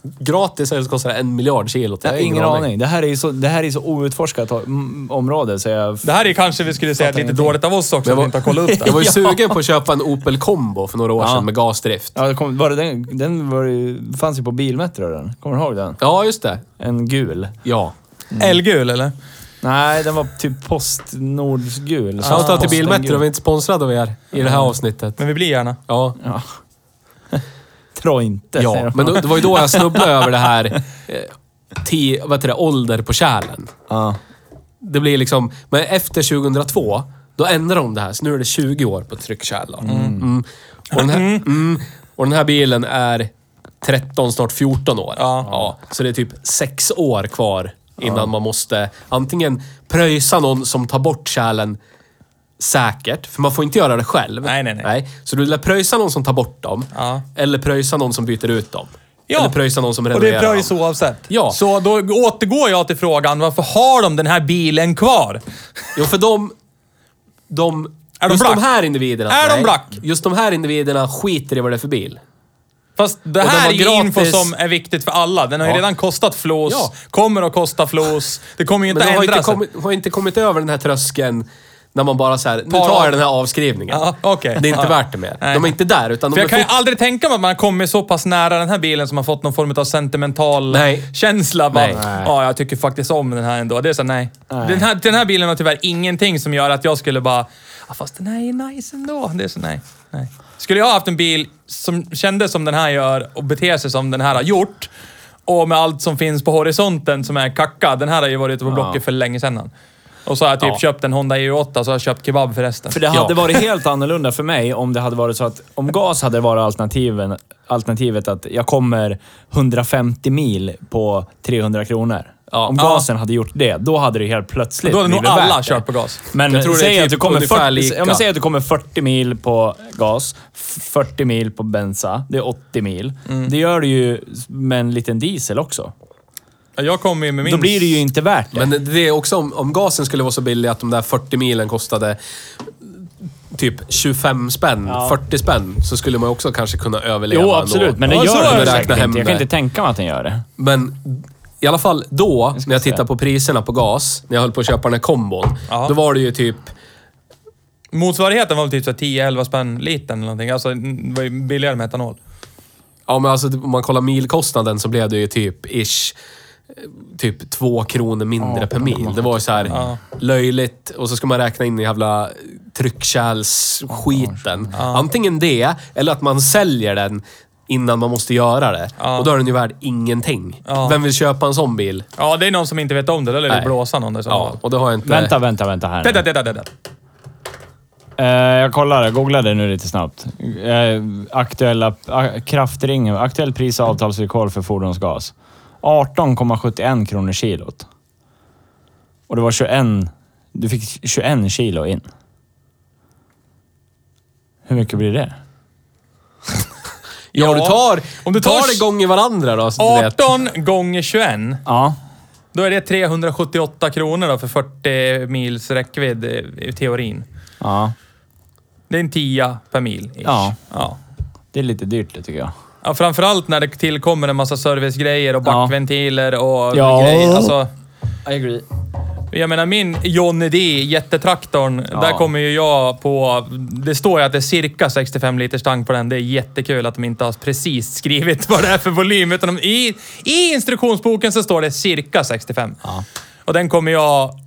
D: Gratis eller så kostar det en miljard kilo.
A: Jag har ingen aning. Det här är ju så, det här är så outforskat o- m- område, så jag...
C: Det här är kanske vi skulle säga
A: Fattar
C: lite
A: ingenting.
C: dåligt av oss också, att vi inte har kollat upp det.
D: Jag var ju sugen på att köpa en Opel Combo för några år
A: Ja.
D: sedan med gasdrift.
A: Ja, det kom, var det den, den var ju, fanns ju på Bilmetro den. Kommer du ihåg den?
D: Ja, just det.
A: En gul.
D: Ja. Mm.
C: Elgul, eller?
A: Nej, den var typ Postnordsgul.
D: Shoutout till
A: Posten
D: Bilmetro, vi är
A: gul.
D: inte sponsrade av er i det
A: Mm.
D: här avsnittet.
C: Men vi blir gärna.
D: Ja.
A: Ja. Tror inte, säger
D: Ja,
A: de.
D: men då- det var ju då jag snubblade över det här eh, ti, vad heter det, ålder på kärlen.
A: Ja.
D: Det blir liksom, men efter 2002, då ändrade de det här. Så nu är det 20 år på tryckkärl. Mm. Mm. Och, den här, mm, och den här bilen är 13, snart 14 år.
C: Ja.
D: så det är typ sex år kvar innan man måste antingen pröjsa någon som tar bort kärlen säkert, för man får inte göra det själv.
C: Nej, nej, nej.
D: Så du lär pröjsa någon som tar bort dem,
C: Ja.
D: eller pröjsa någon som byter ut dem.
C: Ja.
D: Eller pröjsa någon som
C: Och det är
D: renoverar
C: bra
D: dem.
C: i så oavsett.
D: Ja.
C: Så då återgår jag till frågan, varför har de den här bilen kvar?
D: Jo, för de... de
C: Är de
D: just
C: black?
D: de här individerna.
C: Är de
D: nej.
C: black?
D: Just de här individerna skiter i vad det är för bil.
C: Fast det
D: den
C: här
D: var
C: är ju info
D: gratis.
C: som är viktigt för alla. Den har ju
D: Ja.
C: redan kostat flos,
D: Ja.
C: kommer att kosta flos. Det kommer ju
D: Men
C: inte
D: de har
C: ändra
D: inte,
C: sig.
D: kommit, har inte kommit över den här tröskeln när man bara så här, nu
C: Tar
D: tar
C: av.
D: jag den här avskrivningen.
C: Ja, okej.
D: Det är inte
C: Ja.
D: värt det mer.
C: Nej.
D: De är inte där, utan
C: För
D: de är
C: jag kan ju
D: fort-
C: aldrig tänka mig att man har kommit så pass nära den här bilen som har fått någon form av sentimental eh,
D: Nej.
C: känsla. Bara,
D: Nej.
C: Ja, jag tycker faktiskt om den här ändå. Det är så nej. Den, här, den här bilen har tyvärr ingenting som gör att jag skulle bara, ja, fast den här är nice ändå. Det är så nej. nej. Skulle jag ha haft en bil som kändes som den här gör och beter sig som den här har gjort och med allt som finns på horisonten som är kacka. Den här har ju varit ute på Blocket för länge sedan. Och så har jag typ
D: Ja.
C: köpt en Honda EU8 så har jag köpt kebab för resten.
A: För det hade
D: Ja.
A: varit helt annorlunda för mig om det hade varit så att om gas hade varit alternativen, alternativet att jag kommer 150 mil på 300 kronor.
D: Ja.
A: om
D: Ja.
A: gasen hade gjort det, då hade det helt plötsligt
C: Då hade nog
A: blivit värt
C: alla
A: det.
C: kört på gas.
A: Men
D: Jag tror det är
A: säg
D: typ
A: att du kommer
D: ungefär
A: 40,
D: lika.
A: ja, men säg att du kommer 40 mil på gas, f- 40 mil på bensa. Det är 80 mil.
D: Mm.
A: Det gör du ju med en liten diesel också.
C: Ja, Jag kommer ju med min...
A: Då blir det ju inte värt det.
D: Men det är också om, om gasen skulle vara så billig att de där 40 milen kostade typ 25 spänn,
A: Ja.
D: 40 spänn, så skulle man ju också kanske kunna överleva
A: jo, absolut. Men det
D: Ja, så
A: gör
D: är
A: den
D: det.
A: säkert
D: Räkna hem
A: inte. Jag kan
D: det.
A: inte tänka mig att den gör det.
D: Men i alla fall då, när jag
A: se.
D: tittade på priserna på gas, när jag höll på att köpa den här kombon,
C: Ja.
D: då var det ju typ...
C: Motsvarigheten var väl typ så här 10-11 spänn litern eller någonting. Alltså, det var ju billigare med etanol.
D: Ja, men alltså om man kollar milkostnaden så blev det ju typ ish eh, typ två kronor mindre per mil. Det var ju så här löjligt. Och så ska man räkna in i jävla tryckkärlsskiten. Antingen det, eller att man säljer den innan man måste göra det. Och då är den ju värd ingenting. Vem vill köpa en sån bil?
C: Ja, det är någon som inte vet om det. Eller det
D: Nej.
C: blåsa någon där.
D: Ja,
C: Ja.
D: och det har jag inte...
A: Vänta, vänta, vänta här nu.
C: Titta, titta, titta.
F: Eh, jag kollade, googlade nu lite snabbt. Eh, aktuella a, kraftring, aktuell pris och avtalsvillkor för fordonsgas. 18,71 kronor kilot. Och det var 21... Du fick 21 kilo in. Hur mycket blir det?
D: Ja, om du tar,
C: Om du tar
D: det gånger varandra då. Så du vet.
C: 18 gånger 21.
F: Ja.
C: Då är det 378 kronor då för 40 mils räckvidd eh, i teorin.
F: Ja.
C: Det är en tia per mil. ish.
F: Ja.
C: ja.
F: Det är lite dyrt det tycker jag.
C: Ja, framförallt när det tillkommer en massa servicegrejer och
F: Ja.
C: backventiler och
F: Ja.
C: grejer. Alltså,
A: I agree.
C: Jag menar min Johnny D, jättetraktorn,
A: Ja.
C: där kommer ju jag på... Det står ju att det är cirka 65 liters tank på den. Det är jättekul att de inte har precis skrivit vad det är för volym. Utan de, i, I instruktionsboken så står det cirka 65. Och den kommer jag...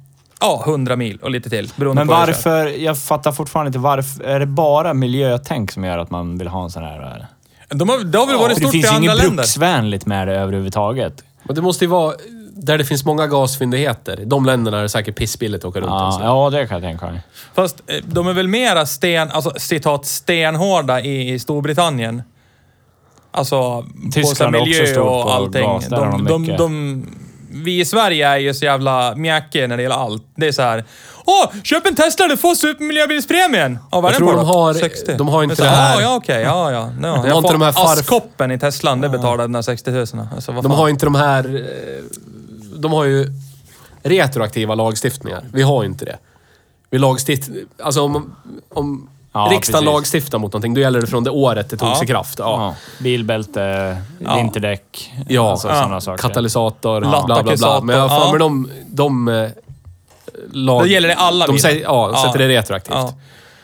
C: Ja, 100 mil och lite till. Beroende på
A: Men
C: hur jag kör.
A: varför, jag fattar fortfarande inte varför, är det bara miljötänk som gör att man vill ha en sån här?
F: eh?
A: Eller?
C: De har, det har väl varit
A: För det
C: stort i
A: finns ju
C: andra
A: inget
C: länder?
A: bruksvänligt med det överhuvudtaget.
D: Men det måste ju vara där det finns många gasfyndigheter. I de länderna är det säkert pissbilligt att åka runt.
A: Ja,
D: alltså.
A: ja, det kan jag tänka mig.
C: Fast eh, de är väl mera sten, alltså, citat, stenhårda i, i Storbritannien. Alltså, på
A: Tyskland
C: så här
A: är också
C: miljö
A: stort på
C: och allting.
A: gas, där har
C: de,
A: de
C: de, de,
A: mycket.
C: vi i Sverige är ju så jävla mjäkiga när det gäller allt. Det är så här. Åh, köp en Tesla, du får supermiljöbilspremien! Ja, vad är
D: Jag
C: den
D: tror
C: på
D: de
C: då?
D: har-
C: 60.
D: de har inte
C: Men så
D: det här.
C: Ja, ja, okej. ja, ja. No,
D: har inte de här farf-
C: Askkoppen i Teslan, det betalade den här 60 000. Alltså, vad
D: De
C: fan?
D: har ju inte de här... eh, De har ju retroaktiva lagstiftningar. Vi har ju inte det. Vi lagstiftar... Alltså om, om
A: Ja,
D: riksdagen
A: precis.
D: lagstiftar mot någonting, då gäller det från det året det togs
C: Ja.
D: i kraft. Ja.
A: Ja. Bilbälte, vinterdäck,
D: Ja.
A: alltså
D: Ja.
A: sådana saker.
D: Katalysator,
C: Ja.
D: bla bla bla. Men jag har
C: Ja.
D: för mig de... de eh, lag,
C: Då gäller det alla
D: de
C: bilar.
D: säger, Ja, de
C: Ja.
D: sätter det retroaktivt.
C: Ja.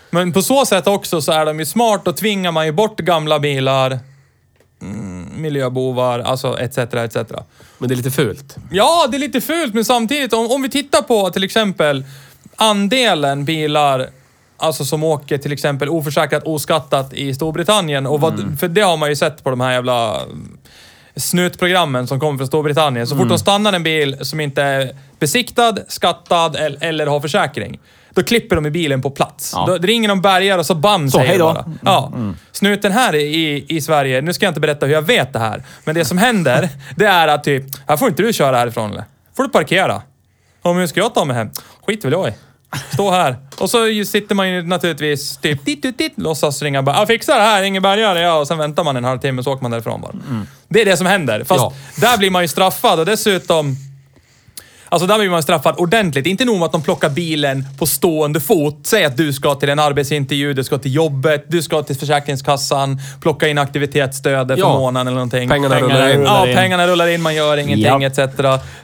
C: Men på så sätt också så är de ju smart. Då tvingar man ju bort gamla bilar, mm, miljöbovar, alltså etc. etc.
D: Men det är lite fult.
C: Ja, det är lite fult, men samtidigt om, om vi tittar på till exempel andelen bilar Alltså som åker till exempel oförsäkrat, oskattat i Storbritannien. Och vad, För det har man ju sett på de här jävla mm, snutprogrammen som kommer från Storbritannien. Så fort
A: Mm.
C: de stannar en bil som inte är besiktad, skattad eller, eller har försäkring, då klipper de i bilen på plats.
A: Ja.
C: Då ringer de bärgare och så bam säger
A: hej
C: det
A: då. Mm,
C: bara. Ja. Snuten här i, i Sverige, nu ska jag inte berätta hur jag vet det här, men det som händer, det är att typ, här får inte du köra härifrån eller? får du parkera. Om hur ska jag ta mig hem? Skit väl jag i. Stå här. Och så ju sitter man ju naturligtvis typ dit, dit, dit, låtsas ringa bara, jag fixar det här, ingen bärgare, ja. Och sen väntar man en halvtimme så åker man därifrån bara.
A: Mm.
C: Det är det som händer. Fast
D: Ja.
C: där blir man ju straffad och dessutom Alltså där blir man straffad ordentligt. Inte nog med att de plockar bilen på stående fot. Säg att du ska till en arbetsintervju, du ska till jobbet, du ska till Försäkringskassan, plocka in aktivitetsstödet för
D: Ja.
C: månaden eller någonting.
D: Pengarna rullar in.
C: Ja, pengarna rullar in, man gör ingenting
A: Japp.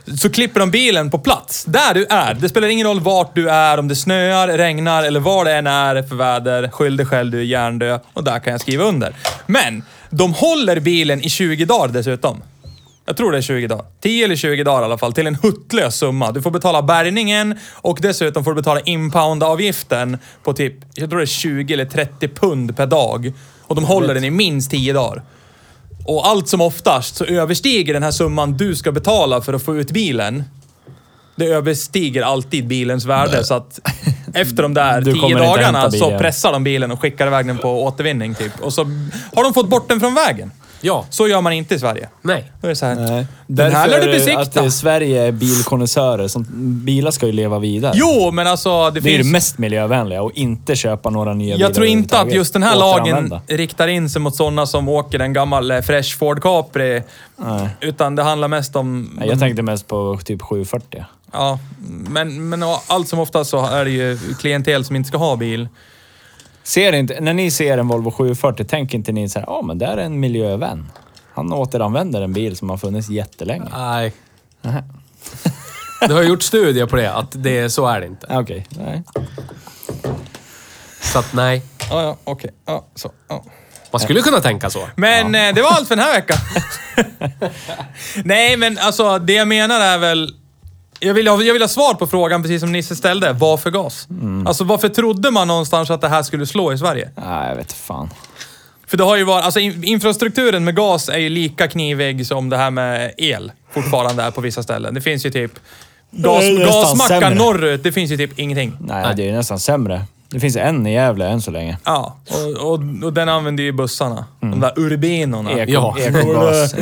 C: etc. Så klipper de bilen på plats, där du är. Det spelar ingen roll vart du är, om det snöar, regnar eller vad det än är för väder. Skyll dig själv, du är hjärndö. Och där kan jag skriva under. Men, de håller bilen i 20 dagar dessutom. Jag tror det är 20 dagar. 10 eller 20 dagar i alla fall, till en huttlös summa. Du får betala bärgningen och dessutom får du betala impoundavgiften på typ, jag tror det är 20 eller 30 pund per dag. Och de håller den i minst 10 dagar. Och allt som oftast så överstiger den här summan du ska betala för att få ut bilen. Det överstiger alltid bilens värde så att efter de där
A: Du kommer
C: tio
A: inte
C: dagarna
A: hämta
C: så
A: bilen.
C: pressar de bilen och skickar iväg den på återvinning typ. Och så har de fått bort den från vägen.
D: Ja.
C: Så gör man inte i Sverige.
D: Nej.
C: Då är det så här.
G: Nej.
C: Den här lär du
G: Därför
C: besikta.
G: att eh, Sverige är bilkonnässörer. som- Bilar ska ju leva vidare.
C: Jo, men alltså det,
G: Det är ju
C: finns...
G: det mest miljövänliga och inte köpa några nya bilar
C: Jag tror inte att
G: överhuvudtaget.
C: just den här lagen
G: Återanvända.
C: riktar in sig mot sådana som åker en gammal eh, Fresh Ford Capri. Utan det handlar mest om...
G: Nej, Jag tänkte mest på typ 740.
C: Ja, men, men allt som oftast så är det ju klientel som inte ska ha bil.
G: Ser inte, när ni ser en Volvo 740, tänker inte ni så här, ja men där är en miljövän. Han återanvänder en bil som har funnits jättelänge.
D: Nej. Det har gjort studier på det, att det, så är det inte.
G: Ah, Okej, nej.
D: Så att nej,
C: Ja, ja, okej. Ja, så. Ja.
D: man skulle kunna tänka så.
C: Men eh, det var allt för den här veckan. Nej, men alltså det jag menar är väl... Jag vill, ha- jag vill ha svar på frågan, precis som Nisse ställde. Varför gas? Alltså varför trodde man någonstans att det här skulle slå i Sverige?
G: Nej, jag vet fan.
C: För det har ju varit, alltså in, infrastrukturen med gas är ju lika knivig som det här med el fortfarande är på vissa ställen. Det finns ju typ gas,
G: Det är nästan
C: gasmackar
G: sämre.
C: norrut, det finns ju typ ingenting.
G: Nej, det är ju nästan sämre. Det finns en i Gävle än så länge.
C: Ja, och, och, och den använde ju bussarna.
D: Mm.
C: De där urbinorna.
G: Eko,
D: Ja.
G: ekogas.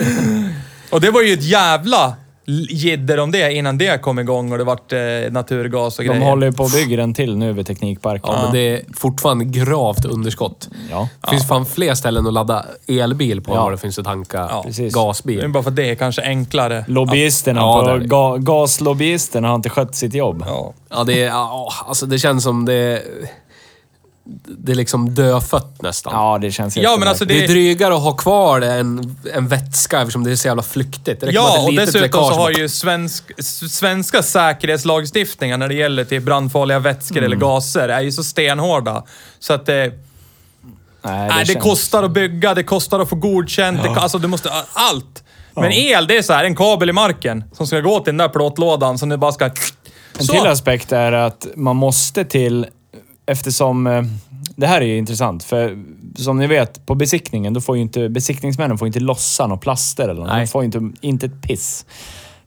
C: Och det var ju ett jävla l- jidder om det innan det kom igång och det vart eh, naturgas och
G: De
C: grejer.
G: håller ju på och bygger en till nu vid Teknikparken.
D: Ja, men det är fortfarande gravt underskott.
G: Ja.
D: Det finns fan fler ställen att ladda elbil på än
G: Ja.
D: vad det finns att tanka
G: precis.
C: Det är
D: gasbil.
C: bara för att det är kanske enklare.
G: Lobbyisterna
D: Ja,
G: på
D: det är det.
G: ga, gaslobbyisterna har inte skött sitt jobb.
C: Ja.
D: Ja, det, är, ja, alltså det känns som det... det är liksom dödfött nästan.
A: Ja, det känns helt
C: Ja, men
A: overkligt.
C: alltså det-
D: Det är drygare att ha kvar det än, än vätska eftersom det är så jävla flyktigt. Det räcker med att
C: Ja,
D: det är
C: och
D: litet
C: dessutom
D: läckage
C: så har
D: bort.
C: ju svensk, s- svenska säkerhetslagstiftningar när det gäller till brandfarliga vätskor
D: Mm.
C: eller gaser är ju så stenhårda. Så att eh, det,
A: Nej,
C: det, nej, det
A: känns-
C: kostar att bygga, det kostar att få godkänt, det, alltså du måste... Allt! Men el, det är så här en kabel i marken som ska gå till den där plåtlådan som du bara ska...
A: En till alltså. aspekt är att man måste till, eftersom... eh, Det här är ju intressant, för som ni vet, på besiktningen, då får ju inte besiktningsmännen får inte lossa några plaster eller något. De
D: Nej.
A: får ju inte, inte ett piss.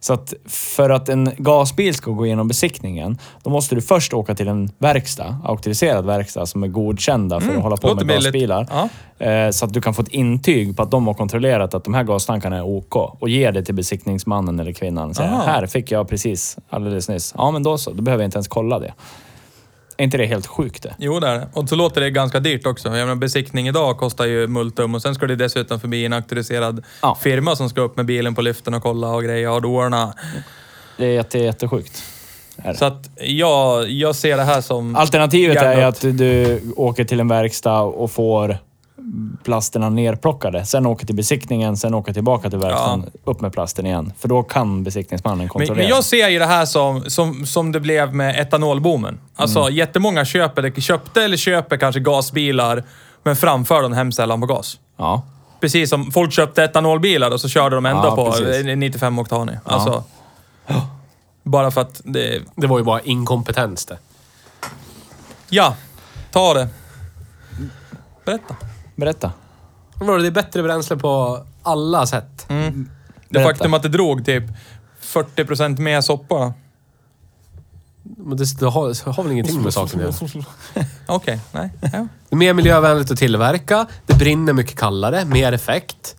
A: Så att för att en gasbil ska gå igenom besiktningen, då måste du först åka till en verkstad, auktoriserad verkstad, som är godkända för att hålla på
C: Mm, låter
A: med
C: billigt.
A: gasbilar.
C: Ja.
A: Eh, Så att du kan få ett intyg på att de har kontrollerat att de här gastankarna är OK och ger det till besiktningsmannen eller kvinnan. Så här, här fick jag precis alldeles nyss. Ja, men då så. Då behöver jag inte ens kolla det. Är inte det helt sjukt det?
C: Jo, det är det. Och så låter det ganska dyrt också. Jag menar, besiktning idag kostar ju multum och sen ska du dessutom förbi en auktoriserad
A: Ja.
C: firma som ska upp med bilen på lyften och kolla och grejer och dårna.
A: Det är jätte, jättesjukt.
C: Så att ja, jag ser det här som...
A: Alternativet är
C: Hjärndött.
A: att du åker till en verkstad och får plasterna nerplockade. Sen åker till besiktningen, sen åker tillbaka till verkstaden. Upp med plasten igen. För då kan besiktningsmannen
C: Men,
A: kontrollera.
C: men jag ser ju det här som, som, som det blev med etanolboomen. Alltså
A: Mm.
C: jättemånga köper, köpte eller köper kanske gasbilar, men framför den hem sällan på gas.
A: Ja.
C: Precis som folk köpte etanolbilar och så körde de ändå
A: Ja,
C: på
A: precis.
C: eh, 95 oktanig. Alltså, Bara för att det...
D: Det var ju bara inkompetens det.
C: Ja, ta det. Berätta.
A: Berätta.
D: Men vadå, Det är bättre bränsle på alla sätt.
C: Det
A: Berätta.
C: faktum att det drog typ 40% mer soppa.
D: Men det, det, har, det har väl ingenting med saken att göra?
C: Okej, nej. Ja.
D: Det är mer miljövänligt att tillverka, det brinner mycket kallare, mer effekt,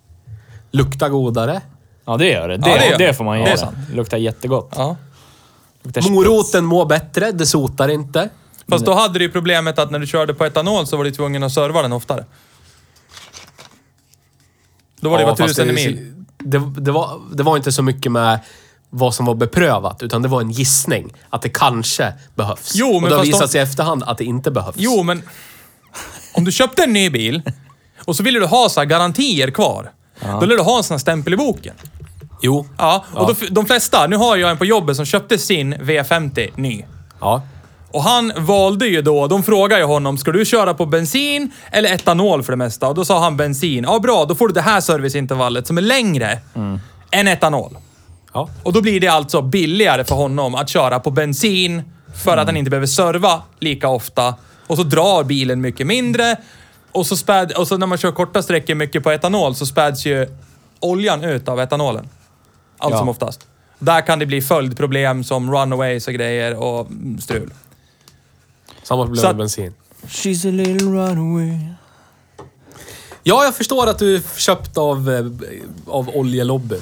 D: luktar godare.
A: Ja, det gör det. Det,
C: det
A: det,
C: gör det.
A: får man
C: Ja,
A: ge
C: det är
A: det.
C: sant.
A: Luktar jättegott.
C: Ja.
A: Luktar
D: Moroten mår bättre, det sotar inte.
C: Fast då hade du ju problemet att när du körde på etanol så var du tvungen att serva den oftare. Då var det
D: Ja,
C: bara
D: fast
C: tusen
D: det-
C: mil.
D: Det, det, var, det var inte så mycket med vad som var beprövat, utan det var en gissning. Att det kanske behövs.
C: Jo, men
D: och det har
C: fast
D: visat
C: de-
D: sig i efterhand att det inte behövs.
C: Jo, men... Om du köpte en ny bil och så ville du ha så här garantier kvar. Då ville du ha en sån här stämpel i boken.
D: Jo.
C: Ja, och Då, de flesta... Nu har jag en på jobbet som köpte sin V50 ny.
D: Ja.
C: Och han valde ju då, de frågade ju honom, ska du köra på bensin eller etanol för det mesta? Och då sa han bensin. Ja, bra, då får du det här serviceintervallet som är längre än etanol.
D: Ja.
C: Och då blir det alltså billigare för honom att köra på bensin för att han inte behöver serva lika ofta. Och så drar bilen mycket mindre. Och så, späd, och så när man kör korta sträckor mycket på etanol så späds ju oljan ut av etanolen. Allt
A: Ja.
C: som oftast. Där kan det bli följdproblem som runaways och grejer och mm, strul.
D: Samma problem
C: Så
D: med
C: att-
D: bensin.
A: She's a little runaway.
D: Ja, jag förstår att du är köpt av, eh, av oljelobbyn.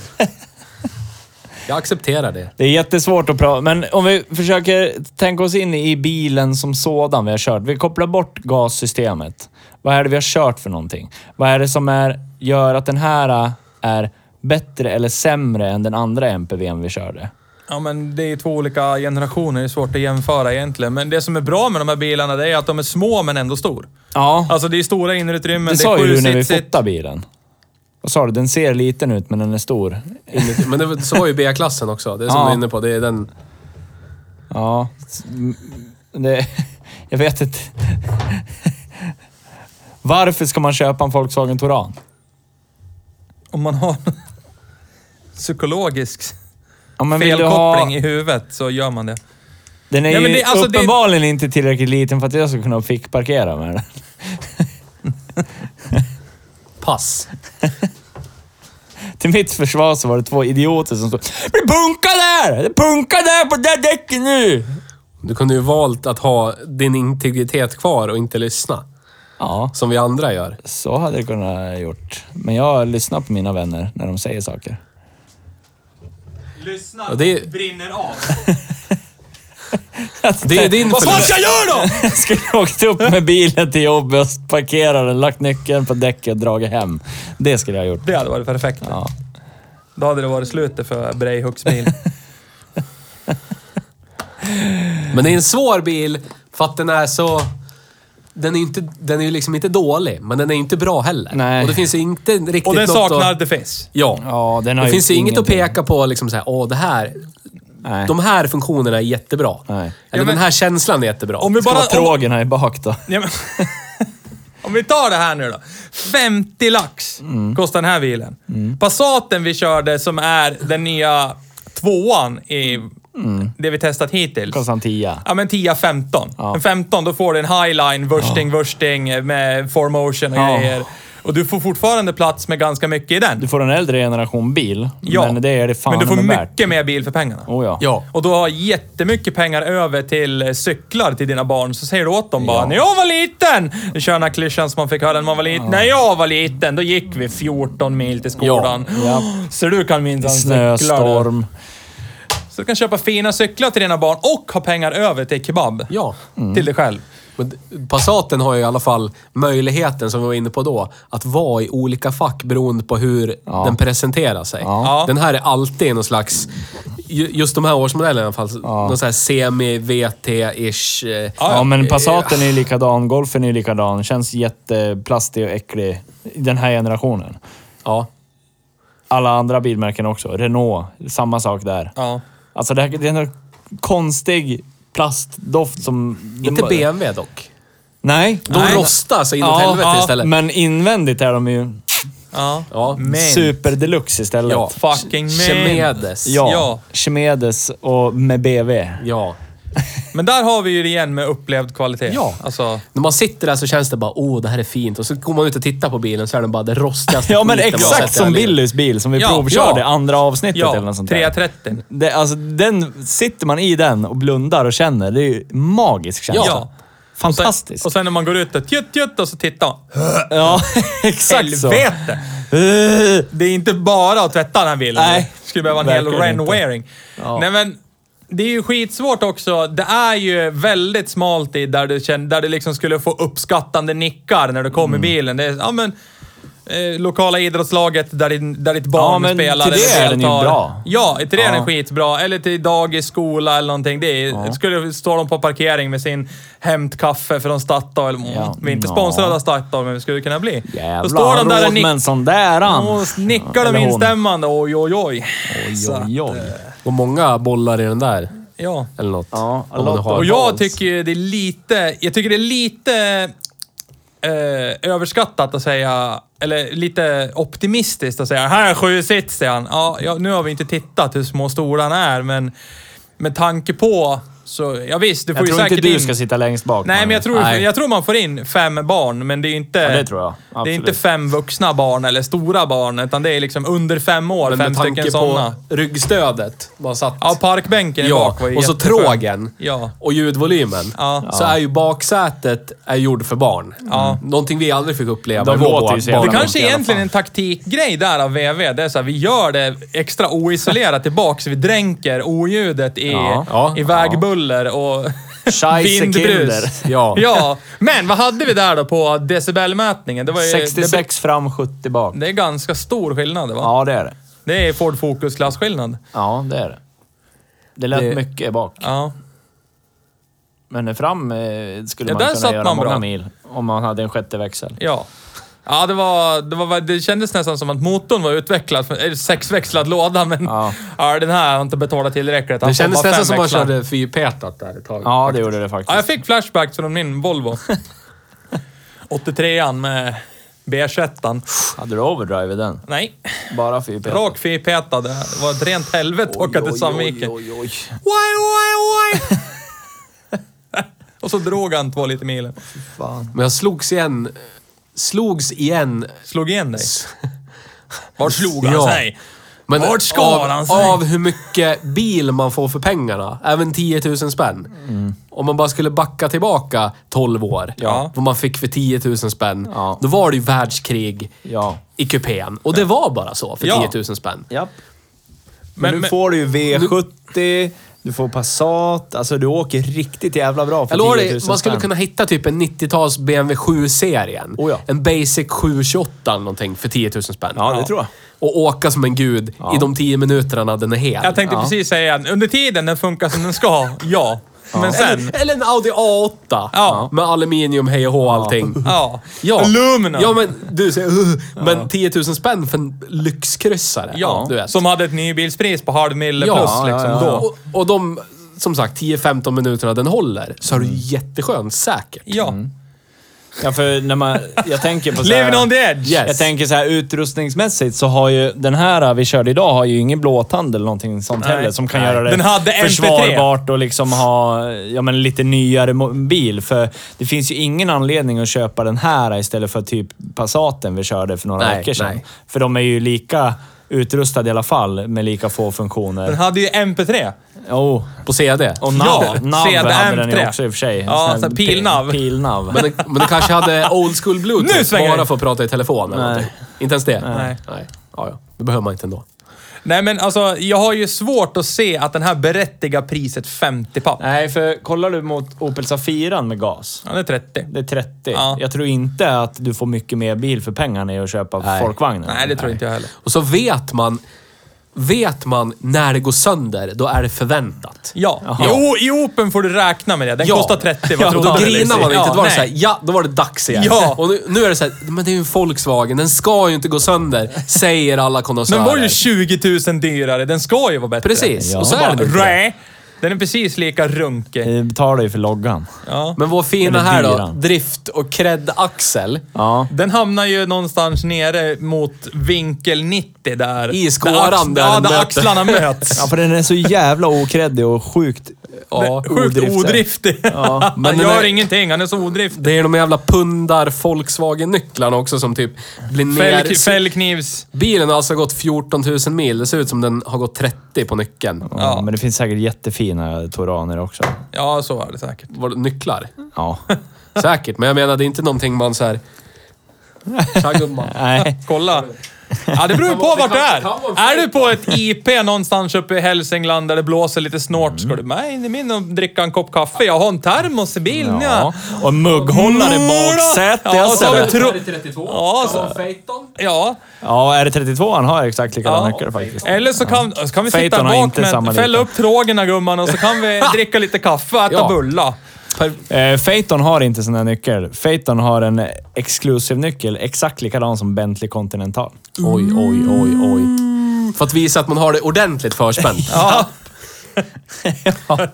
D: jag accepterar det.
A: Det är jättesvårt att prata, men om vi försöker tänka oss in i bilen som sådan vi har kört. Vi kopplar bort gassystemet. Vad är det vi har kört för någonting? Vad är det som är, gör att den här äh, är bättre eller sämre än den andra MPVn vi körde?
C: Ja, men det är två olika generationer. Det är svårt att jämföra egentligen. Men det som är bra med de här bilarna det är att de är små men ändå stor.
A: Ja,
C: Alltså det är stora inreutrymmen,
A: det,
C: det,
A: sa
C: är
A: ju du när vi
C: sjusitsigt.
A: fotade bilen. Vad sa du? Den ser liten ut, men den är stor.
D: Inuti. Men det, så var ju B-klassen också. Det är som
A: Ja.
D: du är inne på. Det är den...
A: Ja, s- m- det, jag vet inte. Varför ska man köpa en Volkswagen Touran?
C: Om man har en psykologisk
A: Ja, men vill du ha-
C: felkoppling i huvudet så gör man det.
A: Den är
C: Nej, men
A: ju
C: det- alltså, det-
A: uppenbarligen inte tillräckligt liten för att jag ska kunna fickparkera med den.
D: Pass.
A: Till mitt försvar så var det två idioter som stod Det punkar där! Det punkar där på det där däcket nu!
D: Du kunde ju valt att ha din integritet kvar och inte lyssna.
A: Ja,
D: Som vi andra gör.
A: så hade jag kunnat gjort. Men jag lyssnar på mina vänner när de säger saker.
C: Lyssna,
D: Ja, det är-
C: brinner av.
D: Det är din
C: Vad fan
D: förlust.
C: ska jag göra då?
A: Jag skulle ha åkt upp med bilen till jobbet, parkerat den, lagt nyckeln på däcket och dragit hem. Det skulle jag ha gjort.
C: Det hade varit perfekt.
A: Ja.
C: Då hade det varit slutet för Breihooks bil.
D: Men det är en svår bil för att den är så... den är ju inte, den är ju liksom inte dålig, men den är ju inte bra heller.
A: Nej.
D: Och det finns ju inte riktigt
C: Och den
D: något
C: saknar
D: Att,
C: The Fizz.
D: ja.
A: Ja, den har
D: Det
A: ju
D: finns ju inget att
A: ingenting.
D: peka på liksom såhär, åh det här...
A: Nej.
D: De här funktionerna är jättebra.
A: Nej.
D: Eller
C: Ja, men-
D: den här känslan är jättebra.
C: Om vi
A: Ska
C: bara...
A: vara
C: Om,
A: trågen här i bak då.
C: ja, men, om vi tar det här nu då. 50 lax kostar den här bilen. Passaten vi körde som är den nya tvåan i det vi testat hittills.
A: Kostar en tia.
C: Ja, men 10-15. En 15, då får du en highline, wursting, wursting med formotion och
A: Ja.
C: grejer. Och du får fortfarande plats med ganska mycket i den.
A: Du får en äldre generation bil,
C: Ja.
A: men det är det fan
C: men du får
A: med
C: mycket
A: värt.
C: mer bil för pengarna.
A: Oh, ja.
D: Ja.
C: Och du har jättemycket pengar över till eh, cyklar till dina barn. Så säger du åt dem bara, när jag var liten! Du kör den här klyschan som man fick höra när man var liten. När jag var liten, då gick vi 14 mil till skolan.
A: Ja.
C: Så du kan minsann cykla. du.
A: Snöstorm.
C: Så du kan köpa fina cyklar till dina barn och ha pengar över till kebab.
D: Ja.
A: Mm.
C: Till dig själv.
D: Men Passaten har ju i alla fall möjligheten, som vi var inne på då, att vara i olika fack beroende på hur den presenterar sig.
C: Ja.
D: Den här är alltid någon slags, ju- just de här årsmodellerna i alla fall, någon sån här semi-VT-ish. eh,
A: Ja, men Passaten är ju likadan, Golfen är ju likadan. Känns jätteplastig och äcklig i den här generationen.
D: Ja.
A: Alla andra bilmärken också. Renault, samma sak där.
C: Ja.
A: Alltså det, här, det är en konstig plastdoft som...
D: Inte BMW dock.
A: Nej.
D: De
C: Nej.
D: rostar så inåt helvete istället.
A: men invändigt är de ju
C: Ja.
D: Ja.
C: Men.
A: super deluxe istället.
D: Ja.
C: Fucking men.
D: Chemedes.
A: Ja.
C: Ja.
A: Chemedes och med BV.
D: Ja.
C: Men där har vi ju det igen med upplevd kvalitet.
D: Ja.
C: Alltså,
D: När man sitter där så känns det bara, åh, det här är fint. Och så går man ut och tittar på bilen så är den bara det rostigaste
A: Ja, men
D: skiten man har
A: exakt
D: sett i hela
A: som
D: livet.
A: Billys bil som vi
C: Ja,
A: provkörde
C: ja.
A: andra avsnittet
C: ja.
A: eller något sånt där.
C: 330.
A: Det, alltså, den, sitter man i den och blundar och känner, det är ju en magisk känsla.
C: Ja.
A: Fantastiskt.
C: Och sen när man går ut och tjutt, tjutt och så tittar man.
A: ja, exakt så.
C: Helvete! Det är inte bara att tvätta den här bilen.
A: Nej.
C: Skulle behöva en hel
A: Verkligen inte.
C: renwaring. Nej men, det är ju skitsvårt också. Det är ju väldigt smalt i där du, känner, där du liksom skulle få uppskattande nickar när du kom
A: Mm.
C: i bilen. Det är, ja men... Eh, lokala idrottslaget där, din, där ditt barn
A: Ja, men
C: spelar.
A: till
C: eller
A: det är den ju
C: deltar.
A: bra.
C: Ja, till det är den
A: Ja.
C: skitbra. Eller till dagis, skola eller någonting. Det är, Skulle stå de på parkering med sin hämtkaffe från Statoil.
A: Ja.
C: Vi är inte
A: Ja.
C: sponsrade av Statoil, men vi skulle kunna bli. Då
A: Jävlar,
C: står de där och
A: råd med en
C: nick-
A: sån där han.
C: och nickar
A: Eller
C: de
A: hon.
C: instämmande. Oj, oj, oj. Så att,
A: Oj, oj.
D: Och många bollar i den där.
C: Ja.
D: Eller något.
A: Ja,
D: Om man nu har
C: Och jag
D: balls.
C: tycker ju det är lite... Jag tycker det är lite... Eh, överskattat att säga, eller lite optimistiskt att säga, här är sju sitt, säger han. Ja, ja, nu har vi inte tittat hur små stolarna är, men med tanke på så, ja visst, du får
A: Jag
C: ju
A: tror inte
C: säkert
A: du
C: in...
A: ska sitta längst bak.
C: Nej, men jag tror,
D: Nej.
C: jag tror man får in fem barn, men det är ju inte...
A: Ja, det tror jag.
C: Det är
A: Absolut.
C: inte fem vuxna barn eller stora barn, utan det är liksom under fem år,
D: Men
C: fem
D: med
C: stycken
D: tanke
C: sådana.
D: på ryggstödet man satt.
C: Ja, parkbänken i
D: Ja,
C: bak var ju
D: och så
C: jätteskön.
D: trågen.
C: Ja.
D: Och ljudvolymen.
C: Ja.
D: Så är ju baksätet är gjord för barn. Mm.
C: Ja.
D: Någonting vi aldrig fick uppleva
A: De
D: i vår
A: låter ju så jävla
D: barndom
C: Det
A: Bara
C: kanske
D: i alla
C: är egentligen är en taktikgrej där av VV. Det är så här, vi gör det extra oisolerat tillbaka så vi dränker oljudet i,
A: Ja.
D: Ja.
C: i vägbuller och
A: Scheisse Kinder.
C: vindbrus.
D: Ja.
C: ja. Men vad hade vi där då på decibelmätningen? Det var ju, Det,
A: 66 fram, 70 bak.
C: det är ganska stor skillnad, va?
A: Ja, det är det.
C: Det är Ford Focus-klasskillnad.
A: Ja, det är det. Det lät
D: Det-
A: mycket bak,
C: Ja.
A: men fram eh, skulle
C: Ja,
A: man
C: där
A: kunna
C: satt
A: göra
C: man
A: många
C: bra.
A: mil om man hade en sjätte växel.
C: Ja. Ja, det, var, det, var, det kändes nästan som att motorn var utvecklad för eller sexväxlad låda, men ja.
A: Ja.
C: den här har inte betalat tillräckligt. Han
D: Det
C: får
D: kändes
C: bara
D: nästan som
C: fem
D: att man
C: växlar.
D: körde fyrpetat där ett tag.
A: Ja, det gjorde det faktiskt.
C: Ja, jag fick flashbacks från min Volvo. 83an med B21.
A: Hade du overdrive i den?
C: Nej,
A: Bara fyrpetad?
C: rak fyrpetad. Det var ett rent helvete att åka till Sandviken. Oj, oj, oj! Och så drog han två liter milen.
D: Men jag slogs igen... Slogs igen...
C: Slog igen dig. Vart slog han
D: Ja.
C: sig?
D: Men
C: Vart ska
D: av,
C: han sig?
D: av hur mycket bil man får för pengarna. Även 10 000 spänn. Om man bara skulle backa tillbaka 12 år.
C: Ja.
D: Vad man fick för 10 000 spänn.
A: Ja.
D: Då var det ju världskrig
A: Ja.
D: i kupén. Och det var bara så för
C: Ja.
D: 10 000 spänn.
A: Japp. Men,
C: Men-
A: nu
C: men-
A: får du ju V70, du får Passat. Alltså du åker riktigt jävla bra för
D: Jag lovar
A: 10 000
D: dig, man skulle
A: spänn.
D: kunna hitta typ en 90-tals BMW 7-serien.
A: Oh ja.
D: En Basic 728 eller någonting för 10 000 spänn.
A: Ja, det tror jag.
D: Och åka som en gud i de 10 minuterna den är hel.
C: Jag tänkte precis säga, under tiden den funkar som den ska, ja. Men sen...
D: Eller en Audi A8.
C: Ja.
D: Med aluminium, hej och hå allting.
C: Ja.
D: Ja.
C: Alumna.
D: Ja, men du säger "Ugh", Men 10 000 spänn för en lyxkryssare.
C: Ja,
D: du vet.
C: som hade ett nybilspris på halv mille
D: Ja,
C: plus liksom
D: ja,
C: då.
D: Och, och de, som sagt, 10-15 minuterna den håller så är det ju jätteskönt, säkert.
C: Mm. Ja.
A: Ja, för när man... Jag tänker på så här,
C: Living on the edge!
D: Yes.
A: Jag tänker så här utrustningsmässigt så har ju den här vi körde idag har ju ingen blåtand eller någonting sånt
C: Nej.
A: heller som kan
C: Nej.
A: göra det
C: Den hade MP3.
A: försvarbart och liksom ha ja, men lite nyare mo- bil. För det finns ju ingen anledning att köpa den här istället för typ Passaten vi körde för några
D: Nej,
A: veckor sedan.
D: nej.
A: För de är ju lika utrustade i alla fall med lika få funktioner.
C: Den hade ju MP3.
A: Oh.
D: På CD.
A: Och nav,
C: Ja,
A: nav
C: CD
A: hade den ju
C: M3.
A: också i och för sig. En
C: Ja,
A: sån här
C: så här
A: pe-
C: pilnav.
A: pilnav.
D: Men det, men det kanske hade old school
C: Nu
D: bluetooth
C: svänger
D: bara
C: det.
D: för att prata i telefon eller
A: Nej.
D: någonting. Inte ens det?
C: Nej.
D: Nej. Ja, ja. Det behöver man inte ändå.
C: Nej men alltså, jag har ju svårt att se att den här berättigar priset 50 papp.
A: Nej, för kollar du mot Opel Safiran med gas.
C: Han är 30.
A: Det är 30.
C: Ja.
A: Jag tror inte att du får mycket mer bil för pengarna i att köpa
D: Nej.
A: folkvagnen.
C: Nej, det tror inte jag heller.
D: Och så vet man, vet man när det går sönder, då är det förväntat.
C: Ja. Jo, I Open får du räkna med det. Den
D: Ja.
C: kostar 30. Vad
D: Ja,
C: tror
D: då
C: du?
D: grinar man inte. Då var det
C: nej.
D: såhär, ja, då var det dags igen.
C: Ja.
D: Och nu, nu är det såhär, men det är ju en Volkswagen, den ska ju inte gå sönder, säger alla konnässörer.
C: Den var ju 20 000 dyrare. Den ska ju vara bättre.
D: Precis,
A: Ja.
D: och så
C: Bara,
D: är det inte.
C: "Rä." Den är precis lika runkig.
A: Vi betalar ju för loggan.
C: Ja.
D: Men vår fina
A: Eller
D: här då,
A: dyran.
D: drift och cred-axel.
A: Ja.
C: Den hamnar ju någonstans nere mot vinkel 90 där.
D: I skåran
C: där, ax-
D: där
C: ja,
D: den
C: där
D: möter.
C: axlarna möts.
A: ja, för den är så jävla okreddig och sjukt... eh,
D: Ja,
C: Sjukt
A: odriftig.
C: odriftig.
D: men
C: han
D: den
C: gör
D: är-
C: ingenting, han är så odriftig.
D: Det är de jävla pundar Volkswagen-nycklarna också som typ blir ner...
C: Fäll, fällknivs...
D: Bilen har alltså gått 14 000 mil. Det ser ut som den har gått 30 på nyckeln.
A: Ja. Men det finns säkert jättefina Toraner också.
C: Ja, så var det säkert.
D: Var det nycklar?
A: Ja.
D: Säkert, men jag menar det är inte någonting man såhär... Tja gumman.
A: Nej.
C: Kolla. Ja, det beror ju på
D: Det
C: vart du
D: kanske
C: är.
D: kan vara en
C: Är du på ett IP någonstans uppe i Hälsingland där det blåser lite snort, ska du med in i min och dricka en kopp kaffe? Jag har en termos i bilen, ja.
A: Ja. Och en mugghållare i baksätet.
C: Ja, och så har vi
A: ser det.
C: tro-
D: 32.
C: Ja, så- Ja.
A: Ja, R32 han har exakt likadana
C: Ja.
A: nycklar faktiskt.
C: Eller så kan, så kan vi sitta
A: Phaeton har
C: bak
A: inte
C: med,
A: samma
C: fälla
A: lika.
C: upp trågorna gumman och så kan vi dricka lite kaffe och äta
D: Ja.
C: bulla.
A: Eh, Phaeton har inte sån här nyckel. Phaeton har en exklusiv nyckel, exakt likadan som Bentley Continental.
D: Oj, oj, oj, oj. För att visa att man har det ordentligt förspänt.
C: Mm. Ja.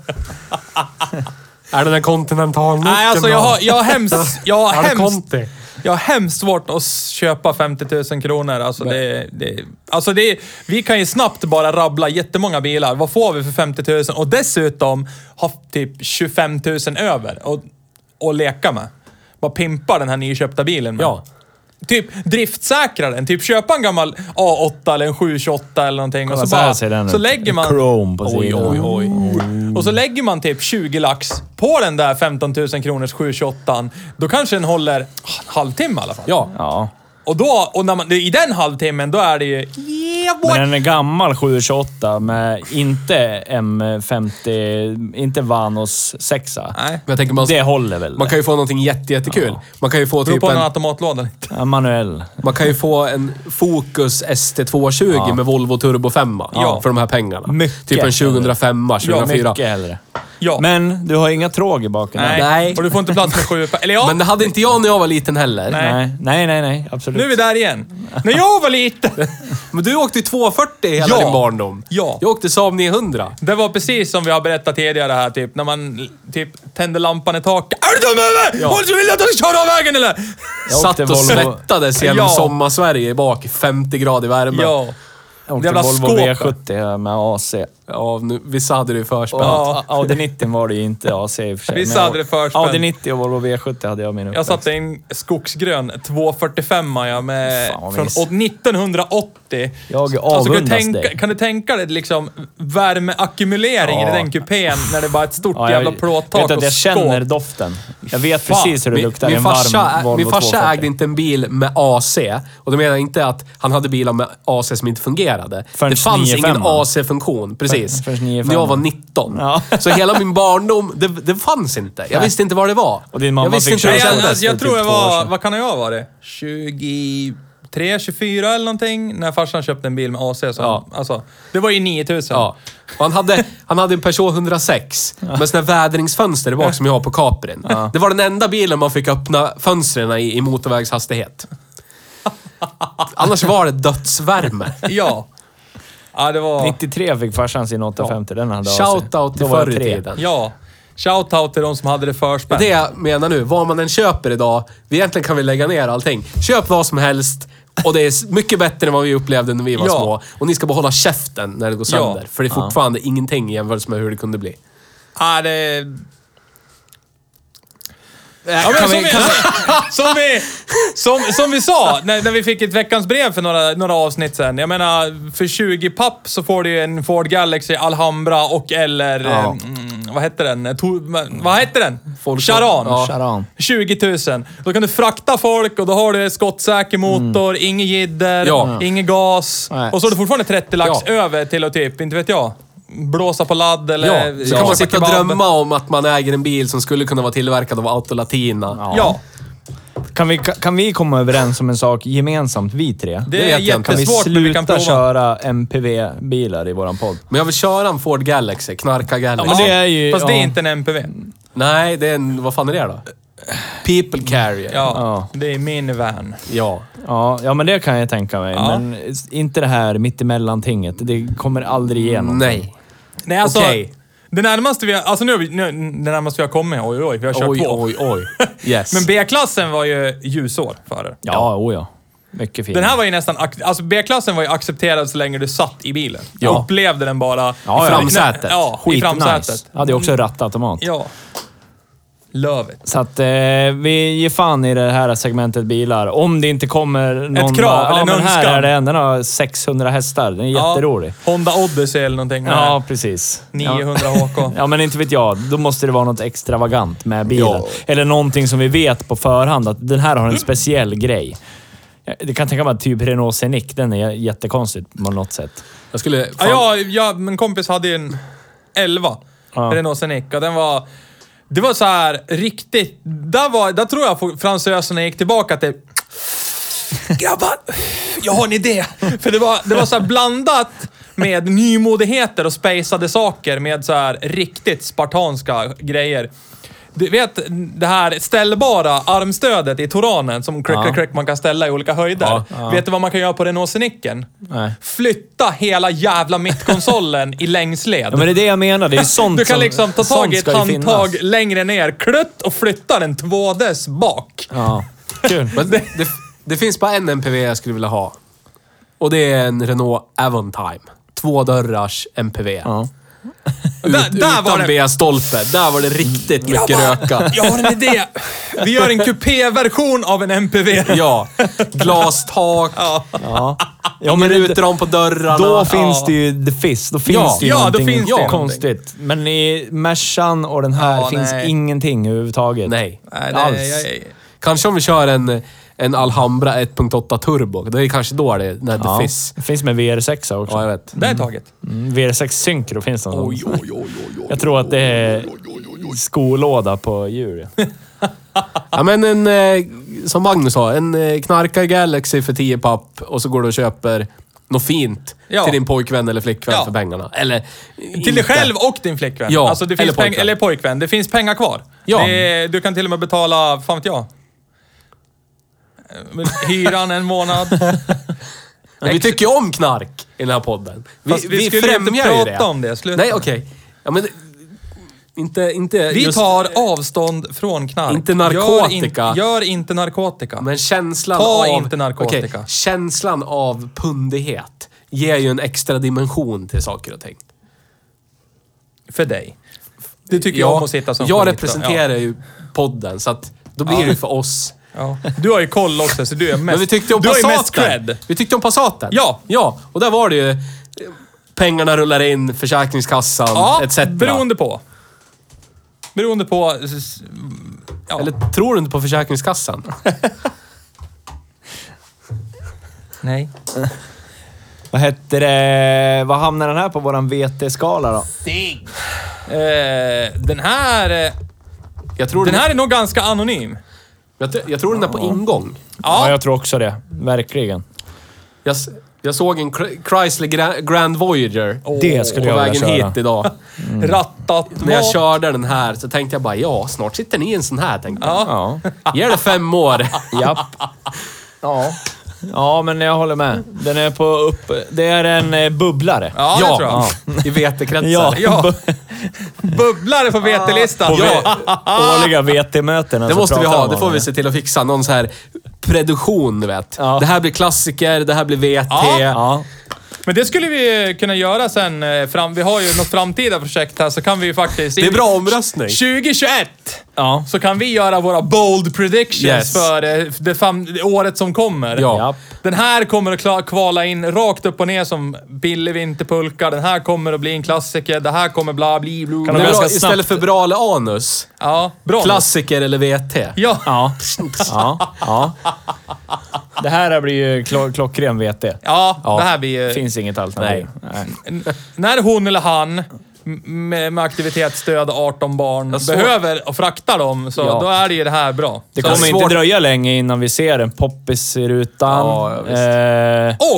D: Är den en kontinental
C: Nej, alltså jag har, jag har hemskt... Jag har
D: Är det
C: hemskt...
D: Conti?
C: Jag har hemskt svårt att köpa 50 000 kronor. Alltså det, det, alltså det, vi kan ju snabbt bara rabbla jättemånga bilar. Vad får vi för 50 000? Och dessutom ha typ 25 000 över och, och leka med. Bara pimpa den här nyköpta bilen med.
D: Ja.
C: Typ driftsäkra den. Typ köpa en gammal A8 eller en 728 eller någonting.
A: Kolla,
C: och så,
A: så här
C: bara,
A: ser den
C: så
A: ut.
C: lägger man...
A: Chrome på sidan.
C: Oj, oj, oj. Och så lägger man typ 20 lax på den där 15 000 kronors 728 Då kanske den håller en halvtimme i alla fall.
D: Ja.
A: Ja.
C: Och, då, och när man, i den halvtimmen, då är det ju... Yeah, boy.
A: Men en gammal 728 med inte M50, inte Vanos 6
C: Nej.
D: Men jag tänker man,
A: Det håller väl?
D: man kan ju få någonting jätte, jättekul. Man kan ju få
C: Beror
D: typ
C: på en
D: en,
C: automatlåda lite.
A: Ja, manuell.
D: man kan ju få en Focus ST220 med Volvo Turbo 5
C: Ja.
D: för de här pengarna.
A: Mycket.
D: Typ en 2005, 2004.
A: Mycket hellre.
C: Ja.
A: Men du har inga tråg i baken?
C: nej.
A: eller?
D: Nej.
C: Och du får inte plats med sju... Eller ja,
D: Men det hade inte jag när jag var liten heller.
C: Nej.
A: Nej, nej, nej, nej. Absolut.
C: nu är vi där igen. När jag var liten...
D: Men du åkte ju 240 hela
C: Ja.
D: din barndom.
C: Ja.
D: Jag åkte Saab 900.
C: Det var precis som vi har berättat tidigare här, typ när man l- typ tände lampan i taket. Är du dum eller? Ja. Vill du att jag kör av vägen eller?
A: Jag
D: Satt
A: åkte
D: och
A: Volvo-
D: svettades genom
C: Ja.
D: sommarsverige i bak i 50 grader värme.
C: Ja.
A: Jag åkte
C: jävla
A: Volvo
C: skåp.
A: V70 med AC.
D: ja nu, vissa hade det ju förspänt.
A: Ja. Audi 90 var det ju inte AC i och för
C: Vissa
A: sig. men jag-
C: hade det förspänt.
A: Audi 90 och Volvo V70 hade jag min
C: Jag
A: uppväxt.
C: satte en skogsgrön 245 ja, med,
A: Fan, vad
C: från
A: vis.
C: å- 1980. kan,
A: Jag
C: du
A: avundas
C: tänka,
A: dig.
C: kan du tänka dig liksom värmeackumuleringen i
A: Ja.
C: den kupén när det bara är ett stort
A: Ja, jag
C: jävla plåttak
A: vet att
C: och
A: jag känner
C: skåp?
A: doften. Jag vet precis hur det
D: Min-
A: luktar i
D: min
A: en
D: farsa,
A: varm Volvo
D: Min farsa
A: 240.
D: ägde inte en bil med AC. Och då menar jag inte att han hade bilar med AC som inte fungerade.
A: Förrän
D: det fanns
A: 9-5.
D: ingen AC-funktion, precis.
A: Förrän 9-5.
D: när jag var 19.
A: Ja.
D: Så hela min barndom, det, det fanns inte. Jag visste inte vad det var.
A: Och din mamma
D: jag visste
A: fick
D: inte hur
C: Nej,
D: det
A: köra
C: jag,
D: kändes.
C: alltså, jag
A: Det är
C: tror
A: typ
C: jag
A: två år
C: var...
A: sedan.
C: Vad kan jag ha varit? 23 23, 24 eller någonting när farsan köpte en bil med AC. Som,
D: Ja.
C: alltså, det var ju 9000.
D: Ja. Och han, hade, han hade en Peugeot 106 med sådana här vädringsfönster där bak som jag har på Caprin. Det var den enda bilen man fick öppna fönstren i, i motorvägshastighet. Annars var det dödsvärme.
C: Ja. Ja, det var...
A: 93 fick farsan sin 850. Den hade
D: Shoutout till
A: Då var jag
D: förr i
A: tre.
D: tiden.
C: Ja. Shoutout till de som hade det förspänt.
D: Det jag menar nu, vad man än köper idag, vi egentligen kan vi lägga ner allting. Köp vad som helst och det är s- mycket bättre än vad vi upplevde när vi var
C: Ja.
D: små. Och ni ska bara hålla käften när det går
C: Ja.
D: sönder. För det är fortfarande ingenting i jämförelse med hur det kunde bli.
C: Ja, det...
D: Äh,
C: Ja, men
D: kan
C: som,
D: vi,
C: vi,
D: kan,
C: som, vi, som, som vi sa när, när vi fick ett veckans brev för några, några avsnitt sen. Jag menar, för 20 papp så får du ju en Ford Galaxy Alhambra och eller... eh, Mm, vad hette den? Tor, vad hette den?
D: Folk-
C: Charan.
D: Ja.
A: Charan.
C: 20 000. Då kan du frakta folk och då har du skottsäker motor, ingen jidder,
D: Mm. Ja.
C: ingen gas.
A: Nej.
C: Och så har du fortfarande 30 lax
D: Ja.
C: över till och typ, inte vet jag. Blåsa på ladd eller...
D: Eh, ja, så
C: köpa
D: kan man sitta och
C: kebab.
D: drömma om att man äger en bil som skulle kunna vara tillverkad av Autolatina.
C: Ja,
A: Kan vi, kan vi komma överens om en sak gemensamt, vi tre?
C: det,
D: Det
C: är
D: vet jag inte.
A: Kan vi
C: jättesvårt men vi kan
A: sluta
C: prova.
A: köra MPV-bilar i våran podd?
D: Men jag vill köra en Ford Galaxy, knarka Galaxy.
A: men det är ju-
C: Fast det är
A: ja.
C: inte en MPV.
D: Nej, det är en... Vad fan är det då? People Carrier.
C: Ja,
A: Ja.
C: det är min van.
D: ja.
A: Ja, ja, men det kan jag tänka mig.
C: Ja.
A: Men inte det här mittemellan-tinget. Det kommer aldrig igenom.
D: Nej.
C: Nej, alltså...
D: Okej.
C: Det närmaste vi har, alltså nu, har vi- nu, det närmaste vi har kommit, oj oj, vi har kört
D: Oj,
C: på.
D: oj, oj. Yes.
C: Men B-klassen var ju ljusår före.
A: Ja, oja. ja. Mycket fint.
C: Den här var ju nästan... ac- Alltså B-klassen var ju accepterad så länge du satt i bilen. Du
D: Ja.
C: upplevde den bara...
A: ja.
C: i
D: Framsätet.
C: Ja, i framsätet. Mm,
A: Ja, det är också rattautomat.
C: Ja. Love it.
A: Så att eh, vi ger fan i det här segmentet bilar. Om det inte kommer någon...
C: krav
A: bara,
C: eller en
A: men här
C: önskan."
A: är den. Den har 600 hästar. Den är jätterolig.
C: Ja, Honda Odyssey eller någonting. med
A: Ja, precis.
C: 900
A: ja.
C: HK.
A: Ja, men inte vet jag. Då måste det vara något extravagant med bilen.
D: Ja.
A: Eller någonting som vi vet på förhand att den här har en speciell grej. Jag- Det kan tänka mig att typ Renault Scenic, den är jättekonstig på något sätt.
D: Jag skulle...
C: Ja,
D: Fan,
C: ja, ja, min kompis hade ju en 11 Renault Scenic och den var... Det var så här riktigt... Där, var, där tror jag fransöserna gick tillbaka till... Grabbar, jag har en idé! För det var, det var så här blandat med nymodigheter och spejsade saker med så här riktigt spartanska grejer. Du vet det här ställbara armstödet i Toranen som crack, crack, crack, man kan ställa i olika höjder. Vet du vad man kan göra på Renault Scenicken?
A: Nej.
C: Flytta hela jävla mittkonsolen i längsled.
A: Ja, men det är det jag menar. Det är sånt
C: Du kan
A: som-
C: liksom ta
A: sånt
C: tag i ett
A: ska ju finnas.
C: handtag längre ner, klutt och flytta den tvådes bak.
A: Ja. Kul.
D: Men det, det, det finns bara en MPV jag skulle vilja ha. Och det är en Renault Avantime. Tvådörrars MPV.
A: Ja.
C: Där-
D: Ut,
C: där
D: utan
C: var det-
D: B-stolpe. Där var det riktigt mycket röka.
C: Jag har en idé! Vi gör en kupéversion av en MPV.
D: Ja. Glastak.
A: Ja,
D: Men
A: men det,
D: rutor om på dörrarna.
A: då
D: Ja.
A: finns det ju the fizz. Då finns
D: Ja.
A: det ju
C: Ja, då
A: någonting
C: finns det ju
A: konstigt. Men i Mercan och den här
C: Ja,
A: finns
C: nej.
A: ingenting överhuvudtaget.
D: Nej.
C: Nej,
A: Alls.
C: det, jag, jag,
D: Kanske om vi kör en, en Alhambra 1.8 Turbo. Då är det kanske då det när det
A: Ja.
D: finns.
A: Det finns med VR6 också.
D: Ja, jag vet.
C: det är taget.
A: Mm, VR6 Syncro finns det någon sån. Jag tror att det är skolåda på djur. ja.
D: Ja, men en, eh, som Magnus sa, en eh, knarkar Galaxy för 10 papp och så går du och köper något fint
C: Ja.
D: till din pojkvän eller flickvän
C: Ja.
D: för pengarna. Eller
C: Till dig själv och din flickvän.
D: Ja,
C: alltså det finns
D: eller
C: eller, pojkvän.
D: pojkvän.
C: eller pojkvän. Det finns pengar kvar.
D: Ja.
C: Det, du kan till och med betala, fan vet jag. Eh, Hyran en månad.
D: Men vi tycker ju om knark i den här podden. Vi,
C: Fast vi skulle ju inte prata om det, sluta.
D: Nej, okej. Ja, men... det- Inte, inte
C: Vi
D: just,
C: tar avstånd från knark.
D: Inte narkotika.
C: Gör, in, gör inte narkotika.
D: Men känslan
C: Ta
D: av...
C: inte narkotika.
D: Okej, känslan av pundighet ger ju en extra dimension till saker och ting.
C: För dig. Du tycker
D: Ja,
C: jag om att sitta som
D: Jag
C: skit,
D: representerar ju podden, så att då blir det ju för oss.
C: Ja. Ja. Du har ju koll också, så du är mest...
D: Men vi tyckte om Mm,
C: du har ju mest
D: Passaten.
C: cred.
D: Vi tyckte om Passaten.
C: Ja.
D: Ja, och där var det ju... eh, Pengarna rullar in, Försäkringskassan,
C: Ja,
D: etc.
C: beroende på. Beroende på... s- s- Ja.
D: Eller tror du inte på Försäkringskassan?
C: nej.
A: Vad hette det? Vad hamnar den här på våran VT-skala då?
C: Eh, den här... eh,
D: Jag tror
C: Den här är nog ganska anonym.
D: Jag, tr- jag tror den är på ingång.
A: Ja, jag tror också det. Verkligen.
D: Jag, s- jag såg en Chr- Chrysler Gra- Grand Voyager
A: det skulle
D: på
A: jag vilja
D: vägen
A: köra.
D: hit idag.
C: Rattat
D: När Mm. jag
C: mat.
D: körde den här så tänkte jag bara, ja, snart sitter ni i en sån här, tänkte jag.
A: Ja.
D: Ge det fem år.
A: Japp. Ja. Ja, men jag håller med. Den är på upp... Det är en eh, bubblare.
C: Ja, det tror jag.
D: I vetekretsar.
A: Ja. Alltså,
C: Ja. Bubblare på vetelistan. Ja.
A: Ja. Årliga VT-mötena.
D: Det
A: så
D: måste vi
A: pratar
D: ha.
A: man
D: Det får
A: om
D: vi se till att fixa. Någon så här produktion, du vet.
A: Ja.
D: Det här blir klassiker, det här blir VT.
A: Ja.
C: Men det skulle vi kunna göra sen. eh, Fram, vi har ju något framtida projekt här så kan vi ju faktiskt...
D: Det är bra omröstning.
C: 2021
A: Ja.
C: så kan vi göra våra bold predictions
D: Yes.
C: för eh, det, fram, det året som kommer.
D: Ja.
A: Japp.
C: Den här kommer att kla- kvala in rakt upp och ner som billig vinterpulka. Den här kommer att bli en klassiker. Det här kommer bla bli blu.
A: Kan
D: Det
A: de
D: är
A: ganska
D: bra,
A: snabbt-
D: istället för bra eller anus.
C: Ja, bra.
D: Klassiker eller VT.
C: Ja.
A: Ja. Ja. ja. Det här blir ju klo- klockren VT.
C: Ja, det här blir ju...
A: Finns inget alternativ. Nej.
C: N- när hon eller han m- med, med aktivitetsstöd 18 barn behöver och frakta dem, så
A: Ja.
C: då är det ju det här bra.
A: Det
C: så,
A: kommer
D: svårt-
A: inte dröja länge innan vi ser en poppis i rutan.
D: Ja, ja, visst.
A: eh,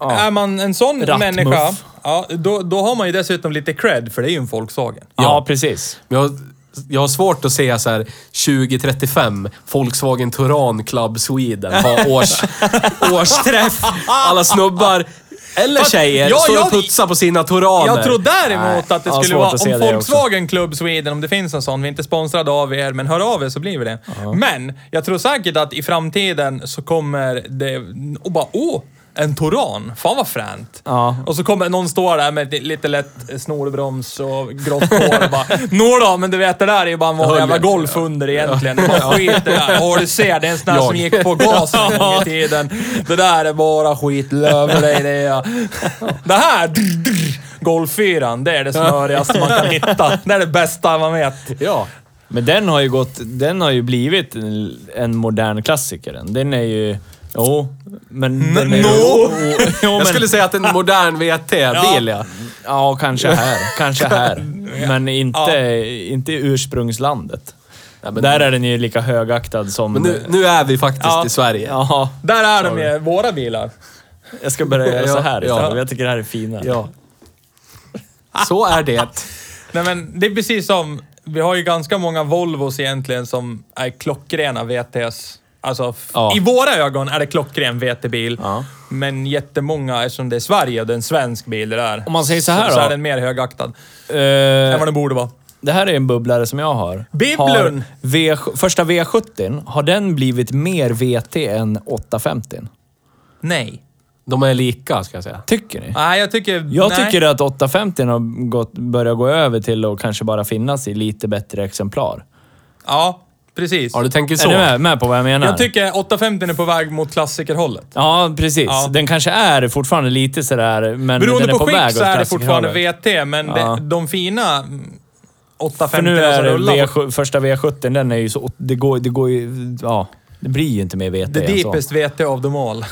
C: och är man en sån
A: Rattmuff.
C: människa, ja, då, då har man ju dessutom lite cred, för det är ju en Volkswagen.
A: ja, precis.
D: Men Jag, jag har svårt att se så här 2035, Volkswagen Touran Club Sweden ha års, årsträff. Alla snubbar, eller tjejer,
C: ja,
D: står
C: jag-
D: och putsar på sina Touraner.
C: Jag tror däremot att det
A: jag har
C: skulle
A: svårt
C: vara
A: att se
C: om
A: det
C: Volkswagen Club Sweden, om det finns en sån. Vi är inte sponsrade av er, men hör av er så blir vi det. Men jag tror säkert att i framtiden så kommer det... Och bara åh! En Toran. Fan vad fränt.
A: Ja.
C: Och så kommer någon stå där med lite lätt snorbroms och grått hår och bara Nå då, men du vet det där är ju bara en vanlig jävla golf under egentligen. Det är bara skit det där. Ja, du ser, det är en sån där som gick på gas en gång i tiden. Det där är bara skit. Löv dig det. ja. Det här, golffyran, det är det snörigaste man kan hitta. Det är det bästa man vet.
D: Ja.
A: Men den har ju gått... Den har ju blivit en, en modern klassiker. den. Den är ju... Jo, men... den är,
C: no.
A: jo, jo, men,
D: Jag skulle säga att en modern VT-bil, ja.
A: Ja, kanske här. Kanske här. Men inte, inte i ursprungslandet.
D: men-
A: Där är den ju lika högaktad som...
D: Men nu, nu är vi faktiskt
C: Ja.
D: i Sverige.
A: Ja,
C: Där är de ju, våra bilar.
A: jag ska börja göra så här
D: Ja,
A: istället.
D: ja.
A: Jag tycker det här är finare.
D: Ja. Så är det.
C: Nej men det är precis som, vi har ju ganska många Volvos egentligen som är klockrena VTS. Alltså, f-
A: Ja.
C: i våra ögon är det klockren VT-bil.
A: Ja.
C: Men jättemånga, eftersom det är Sverige och det är en svensk bil det där.
A: Om man säger så här
C: så,
A: då.
C: är den mer högaktad.
A: Eh,
C: Än vad den borde vara.
A: Det här är en bubblare som jag har.
C: Bibblun!
A: Har V, första V70, har den blivit mer VT än 850?
C: Nej.
D: De är lika, ska jag säga.
A: Tycker ni?
C: Nej, jag tycker...
A: Jag
C: nej.
A: tycker att 850 har gått, börjat gå över till att kanske bara finnas i lite bättre exemplar.
C: Ja, precis.
D: Ja, du tänker
A: Är
D: så.
A: ni med, med på vad jag menar?
C: Jag tycker 850 är på väg mot klassikerhållet.
A: Ja, precis.
C: Ja.
A: Den kanske är fortfarande lite sådär, men
C: Beroende
A: den
C: på,
A: är på, väg
C: skick så
A: åt
C: är det
A: klassikerhållet.
C: fortfarande VT, men
A: Ja.
C: det, de fina mm,
A: För
C: 850
A: nu är
C: som
A: det
C: rullar. på-
A: V7, första V70, den är ju så... Det går, det går ju... Ja, det blir ju inte mer VT
C: The
A: än så.
C: deepest VT of them all.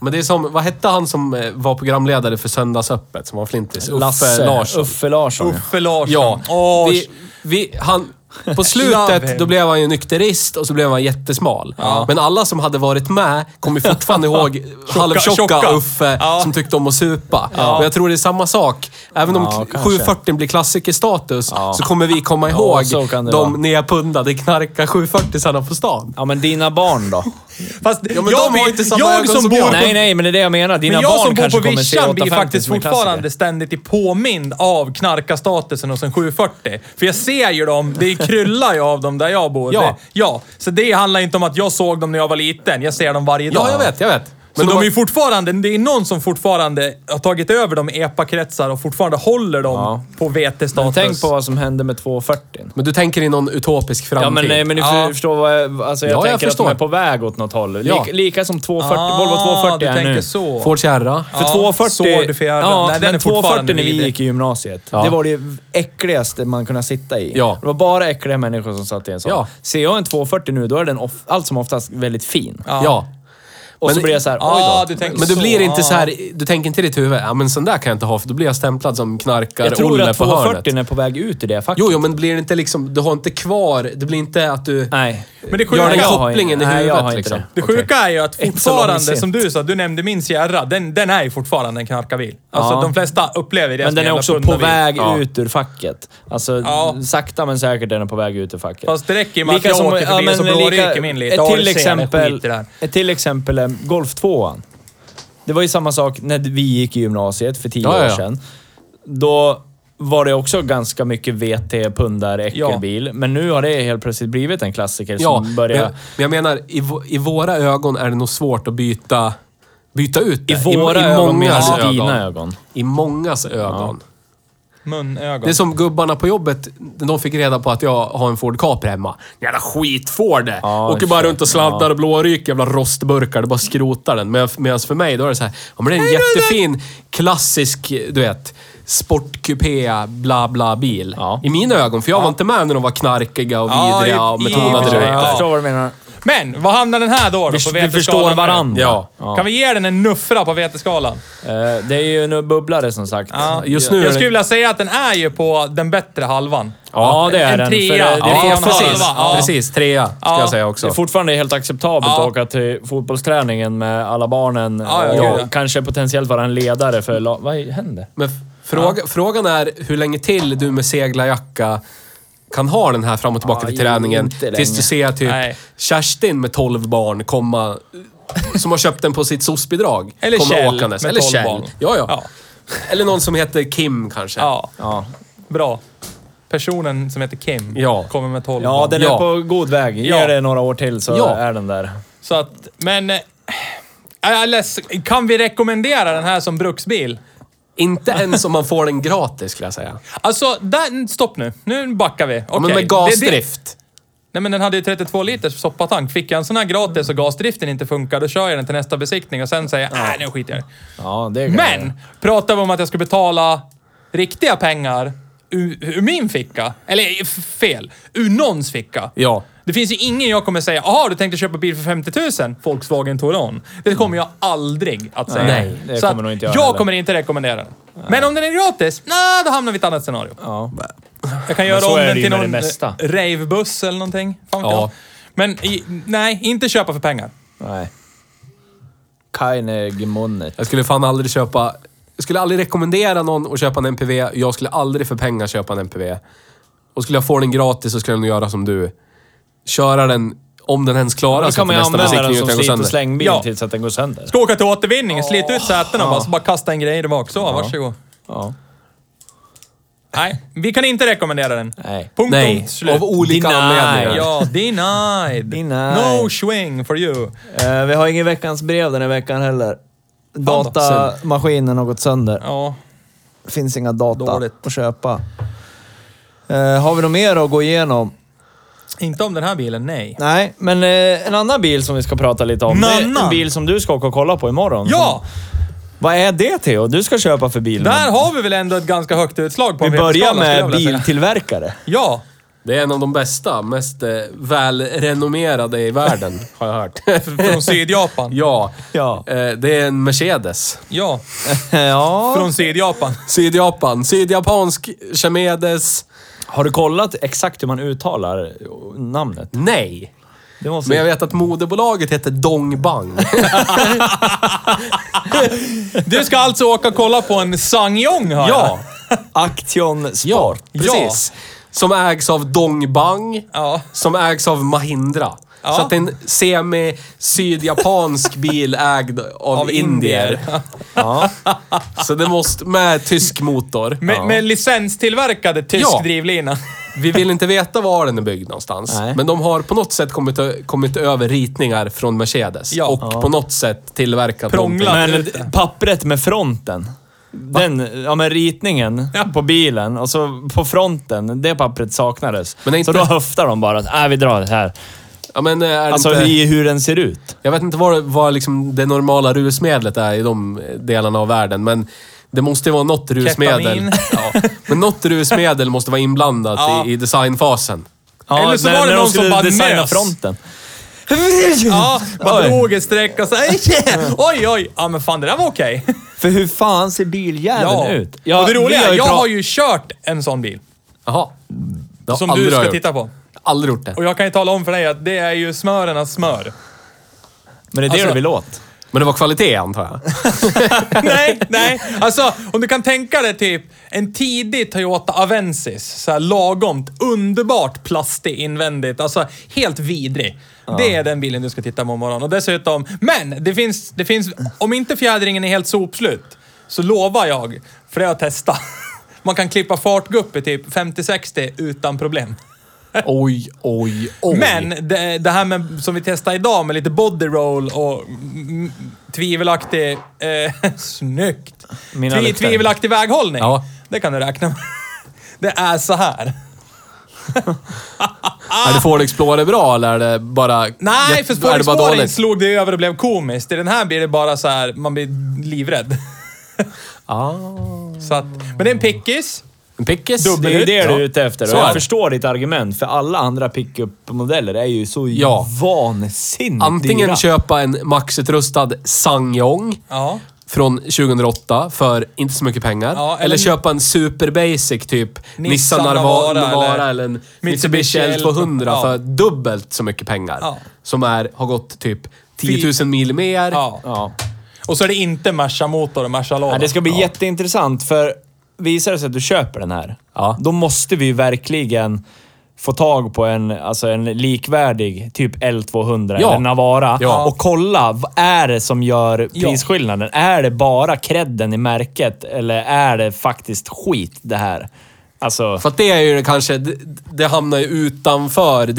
D: Men det är som, vad hette han som eh, var programledare för Söndagsöppet, som var flintis? Uffe
A: Lasse
D: Larsson.
A: Uffe Larsson. ja.
C: Uffe Larsson.
D: Ja.
C: Åh,
D: vi, vi, han, på
C: Love him.
D: slutet, då blev han ju nykterist och så blev han jättesmal. Men alla som hade varit med kommer ju fortfarande ihåg halvtjocka
C: tjocka.
D: Uffe
C: Ja.
D: som tyckte om att supa. Och jag tror det är samma sak. Även om
A: Ja,
D: k-
A: kanske.
D: 740 blir klassikerstatus så kommer vi komma ihåg
A: så kan det
D: de
A: vara.
D: nedpundade knarka 740-sarna på stan.
A: Ja, men dina barn då?
C: Fast
D: men
C: jag,
D: de har
C: vill-
D: inte samma
C: jag
D: ögon
C: som
D: som
C: bor
D: jag.
C: på...
A: nej, nej, men det är det jag menar. Dina
C: Men jag
A: barn
C: som
A: kanske
C: bor på
A: kommer se
C: vischan blir
A: 850
C: faktiskt
A: som en
C: fortfarande
A: klassiker.
C: ständigt i påmind av knarkastatusen hos en 740. För jag ser ju dem, det kryllar ju av dem där jag bor.
D: Ja.
C: Det, ja. Så det handlar inte om att jag såg dem när jag var liten. Jag ser dem varje dag.
D: Ja, jag vet, jag vet.
C: Så de
D: var-
C: är ju fortfarande, det är någon som fortfarande har tagit över dem i epakretsar och fortfarande håller dem
A: Ja.
C: på
A: Men
C: VT-status.
A: tänk på vad som hände med 240.
D: Men du tänker i någon utopisk framtid?
A: Ja, men, nej, men ni
C: Ja.
A: förstår vad jag... Alltså, jag
D: Ja, jag
A: tänker att de
D: förstår.
A: är på väg åt något håll. Lik,
D: Ja.
A: Lika som 240,
C: Ah,
A: Volvo 240
C: du
A: är
C: tänker
A: nu.
C: så.
D: Ford Kärra?
A: För
C: Ja,
A: 240...
C: Sword för jävla-
A: ja,
C: Nej, den
A: men
C: är fortfarande
A: 240 när vi
C: vidrig.
A: gick i gymnasiet.
D: Ja.
A: Det var det äckligaste man kunde sitta i.
D: Ja.
A: Det var bara äckliga människor som satt i en sån.
D: Ja.
A: Ser jag en 240 nu, då är den off, allt som oftast väldigt fin.
D: Ja.
A: Och så
D: Men-
A: blir jag så här, oj
C: Ja,
A: då.
C: du tänker
D: Men du
C: så.
D: blir inte
C: Ja.
D: så här, du tänker inte i ditt huvud, ja men sån där kan jag inte ha för då blir jag stämplad som knarkare
A: Jag tror
D: Olle
A: att
D: på hörnet.
A: 240 är på väg ut i det faktiskt.
D: Jo, jo, men blir det inte liksom, du har inte kvar, det blir inte att du...
A: Nej.
H: Men det
D: gör
H: sjuka,
D: den
A: jag har
D: kopplingen
A: ingen-
D: i
A: nej, jag
D: huvudet
A: har inte
D: liksom.
A: det.
D: Det.
C: det
A: okej.
C: sjuka är ju att
A: Inte så
C: fortfarande,
A: långsint.
C: som du sa, du nämnde min Sierra. Den, den är ju fortfarande en knarkarbil. Alltså
A: Ja.
C: de flesta upplever det
A: Men
C: som
A: den
C: en
A: är
C: Alltså, jävla
A: också på
C: pundarbil.
A: väg
C: Ja.
A: ut ur facket. Alltså,
C: Ja.
A: sakta men säkert den är på väg ut ur facket.
C: Fast det räcker ju med att jag åker förbi och så
A: men
C: blåryker min lite.
A: Ett
C: Ja,
A: till
C: du ser, det
A: exempel,
C: skit i det här.
A: ett till exempel är Golf 2. Det var ju samma sak när vi gick i gymnasiet för tio
D: Ja, ja,
A: år
D: ja.
A: sedan. Då var det också ganska mycket VT, pundar, äckelbil. Men nu har det helt plötsligt blivit en klassiker
D: Ja,
A: som
D: men,
A: börjar...
D: men jag menar, i, vå- i våra ögon är det nog svårt att byta, byta ut det.
A: I våra ögon
D: mångas
A: menar du dina ögon.
D: I mångas ögon. Det
C: Munögon.
D: är som gubbarna på jobbet, de fick reda på att jag har en Ford Capri hemma. Jävla skitford!
A: Ja,
D: Åker bara
A: shit.
D: runt och sladdar och blåryker, jävla rostburkar. Det bara skrotar den. Medan medans för mig, då är det så här, ja men det är en jättefin, klassisk, du vet, sportkupé, bla bla bil.
A: Ja.
D: I mina ögon, för jag var inte med när de var knarkiga och
C: Ja,
D: vidriga
C: i-
D: och
C: i- Ja,
D: betonade
C: ja,
A: jag
D: dräkter.
A: förstår vad du menar.
C: Men, vad hamnar den här då? då på
A: Vi, vi
C: veteskalan?
A: förstår varandra.
D: Ja.
C: Kan vi ge den en nuffra på veteskalan?
A: Eh, det är ju en bubblare som sagt.
C: Ja,
D: just nu är
C: jag
D: det-
C: skulle vilja säga att den är ju på den bättre halvan.
A: Ja, det är
C: en
A: den.
C: trea.
A: För det- det är
C: Ja,
A: fortfarande-
C: precis.
A: Ja.
D: Precis, trea ska
C: Ja.
D: jag säga
A: Det är
D: också.
A: fortfarande helt acceptabelt
C: Ja.
A: att åka till fotbollsträningen med alla barnen
C: Ja, ja,
A: och
C: gud, ja.
A: kanske potentiellt vara en ledare för la- Vad händer?
D: Men f- fråga, frågan är hur länge till du med seglarjacka kan ha den här fram och tillbaka
A: Ja,
D: till träningen.
A: inte länge.
D: Tills du ser typ
C: Nej.
D: Kerstin med 12 barn komma, som har köpt den på sitt soc-bidrag.
C: Eller
D: komma
C: Kjell
D: åkandes.
C: med
D: Eller
C: 12
D: Kjell.
C: barn.
D: Ja, ja,
C: Ja.
D: Eller någon som heter Kim kanske.
C: Ja,
A: Ja,
C: bra. Personen som heter Kim
D: Ja.
C: kommer med 12
A: ja
C: barn.
A: den är
D: Ja.
A: på god väg. Ge
C: Ja.
A: det några år till så
D: Ja.
A: är den där.
C: Så att, men... eh, Jag är ledsen. Kan vi rekommendera den här som bruksbil?
D: Inte ens om man får den gratis skulle jag säga.
C: Alltså, där, stopp nu. Nu backar vi.
D: Ja,
C: Okej.
D: Men med
C: Det- det-
D: gasdrift.
C: Nej men den hade ju 32 liters soppatank. Fick jag en sån här gratis och gasdriften inte funkar, då kör jag den till nästa besiktning och sen säger jag nej nu skiter jag i det."
A: Ja, det kan jag.
C: Men! Pratar vi om att jag ska betala riktiga pengar ur, ur min ficka? Eller f- fel, ur någons ficka.
D: Ja.
C: Det finns ju ingen jag kommer säga, jaha du tänkte köpa bil för 50 000? Volkswagen Touran. Det kommer jag aldrig att säga.
A: Nej, det
C: Så
A: kommer
C: att
A: nog inte jag
C: jag
A: heller.
C: kommer inte rekommendera den. Men om den är gratis, nej då hamnar vi i ett annat scenario.
A: Ja.
C: Jag kan göra
A: så
C: om
A: är det
C: den
A: ju
C: till
A: med det
C: någon
A: mesta.
C: eh, ravebuss eller någonting. Fan vet
D: Ja.
C: jag. Men i, nej, inte köpa för pengar.
A: Nej. Keine gemunnet.
D: Jag skulle fan aldrig köpa... Jag skulle aldrig rekommendera någon att köpa en MPV. Jag skulle aldrig för pengar köpa en MPV. Och skulle jag få den gratis så skulle jag nog göra som du. Köra den, om den ens klarar
A: Då
D: sig
A: kan man
D: till
A: ju
D: nästa
A: använda den
D: besiktning
A: som
D: utan att gå
A: slit och
D: sönder.
A: slängbil
C: Ja.
A: tills att den går sönder.
C: Ska åka till återvinningen, slita ut sätena bara, så bara kasta en grej där bak. Så, varsågod.
A: Ja.
C: Nej, vi kan inte rekommendera den.
A: Nej.
C: Punkt
D: Nej,
C: och slut.
D: av olika
A: Denied.
D: anledningar.
C: Ja, denied.
A: Denied.
C: No swing for you.
A: Eh, vi har ingen veckans brev den här veckan heller.
C: då.
A: Datamaskinen har gått sönder.
C: Ja,
A: finns inga data
C: Dåligt.
A: att köpa. Eh, har vi något mer att gå igenom?
C: inte om den här bilen, nej.
A: Nej, men eh, en annan bil som vi ska prata lite om. Det är en
C: Nannan.
A: bil som du ska åka och kolla på imorgon.
C: Ja!
A: Vad är det Theo? Du ska köpa för bil?
C: Där har vi väl ändå ett ganska högt utslag på
A: vi
C: en
A: börjar
C: vetenskala, skulle jag
A: med
C: vilja säga.
A: biltillverkare.
C: Ja.
D: Det är en av de bästa, mest eh, välrenommerade i världen, har jag hört.
C: Från Sydjapan.
D: ja.
A: Ja.
D: Eh, det är en Mercedes.
C: Ja.
A: ja.
C: Från Sydjapan.
D: Sydjapan. Sydjapansk Chemedes.
A: Har du kollat exakt hur man uttalar namnet?
D: Nej.
A: Det måste
D: Men jag vet att moderbolaget heter Dongbang.
C: Du ska alltså åka och kolla på en Sangyong hör
D: ja.
A: Action Sport.
D: Precis. Som ägs av Dongbang,
C: Ja.
D: som ägs av Mahindra. Så att det är en semi-sydjapansk bil ägd av,
C: Av indier.
D: indier. Så det måste, med tysk motor.
C: Med, med licenstillverkade tysk
D: Ja.
C: drivlina.
D: Vi vill inte veta var den är byggd någonstans.
A: Nej.
D: Men de har på något sätt kommit, ö- kommit över ritningar från Mercedes.
C: Ja.
D: Och på något sätt tillverkat
C: Prånglat.
D: någonting.
A: Men
C: Ut det.
A: pappret med fronten. Den, ja men ritningen
C: Ja.
A: på bilen och så på fronten, det pappret saknades.
D: Men är
A: Så
D: inte-
A: då höftar de bara att äh, vi drar det här.
D: Ja, men eh, är det
A: Alltså
D: inte,
A: i hur den ser ut.
D: Jag vet inte vad, vad liksom det normala rusmedlet är i de delarna av världen, men det måste ju vara något rusmedel.
C: Ketamin.
D: Ja. Men något rusmedel måste vara inblandat
C: Ja.
D: i, i designfasen.
A: Ja,
C: Eller så
A: när,
C: var det
A: när
C: någon
A: de skulle
C: som bara
A: designa
C: nös.
A: fronten.
C: Ja, bara
A: Oj.
C: drog ett streck och så "Aj, yeah. Oj, oj. Ja, men fan det där var okej.
A: För hur fan ser biljäveln
C: Ja.
A: ut?
C: och det
A: vi
C: roliga
A: har
C: är,
A: ju
C: jag
A: pra-
C: har ju kört en sån bil.
D: Jaha. Det har
C: Som
D: aldrig
C: du ska
D: jag gjort.
C: titta på.
D: aldrig gjort det.
C: Och jag kan ju tala om för dig att det är ju smörernas smör.
A: Men det är det
C: Alltså-
A: du vill åt.
D: Men det var kvalitet antar jag.
C: nej, nej. Alltså, om du kan tänka dig typ en tidig Toyota Avensis. Så här lagomt, underbart plastig invändigt. Alltså, helt vidrig. Det är den bilen du ska titta på imorgon. Och dessutom, men det finns, det finns, om inte fjädringen är helt sopslut, så lovar jag, för det har jag testat. Man kan klippa fartgupp i typ 50-60 utan problem.
D: Oj, oj, oj.
C: Men det, det här med, som vi testade idag med lite body roll och mm, tvivelaktig... Eh, snyggt!
A: Mina
C: Tvi,
A: lukter.
C: tvivelaktig väghållning.
D: Ja.
C: Det kan du räkna med. Det är så här.
D: Är det Ford Explorer bra eller är det bara...
C: Ah. Nej,
D: jätte-
C: för
D: är det bara
C: Spårningsspåren
D: dåligt?
C: slog det över och blev komiskt. I den här blir det bara så här, man blir livrädd.
D: Ah.
C: Så att, men det är en pickis.
D: En pickis?
A: Det är ju det du är ute efter.
D: Så
A: Och
D: är det.
A: jag förstår ditt argument, för alla andra pickup-modeller är ju så
D: Ja.
A: vansinnigt
D: Antingen
A: dyra.
D: köpa en maxutrustad Sangyong
C: Ja.
D: från 2008 för inte så mycket pengar.
C: Ja,
D: eller,
C: eller-
D: köpa en super basic typ Nissan
C: Navara
D: Narva- Navara
C: eller
D: eller, en
C: Mitsubishi
D: Mitsubishi L200
C: Ja.
D: för dubbelt så mycket pengar.
C: Ja.
D: Som är, har gått typ 10 000 mil mer.
C: ja.
A: Ja.
C: Och så är det inte Merca motor och Merca låda.
A: Ja, det ska bli jätteintressant, för visar det sig att du köper den här,
D: Ja.
A: då måste vi ju verkligen få tag på en, alltså en likvärdig, typ L200
D: Ja.
A: eller Navara
D: Ja.
A: och kolla vad är det som gör
C: Ja.
A: prisskillnaden. Är det bara credden i märket eller är det faktiskt skit det här? Alltså...
D: För att det är ju det kanske, det, det hamnar ju utanför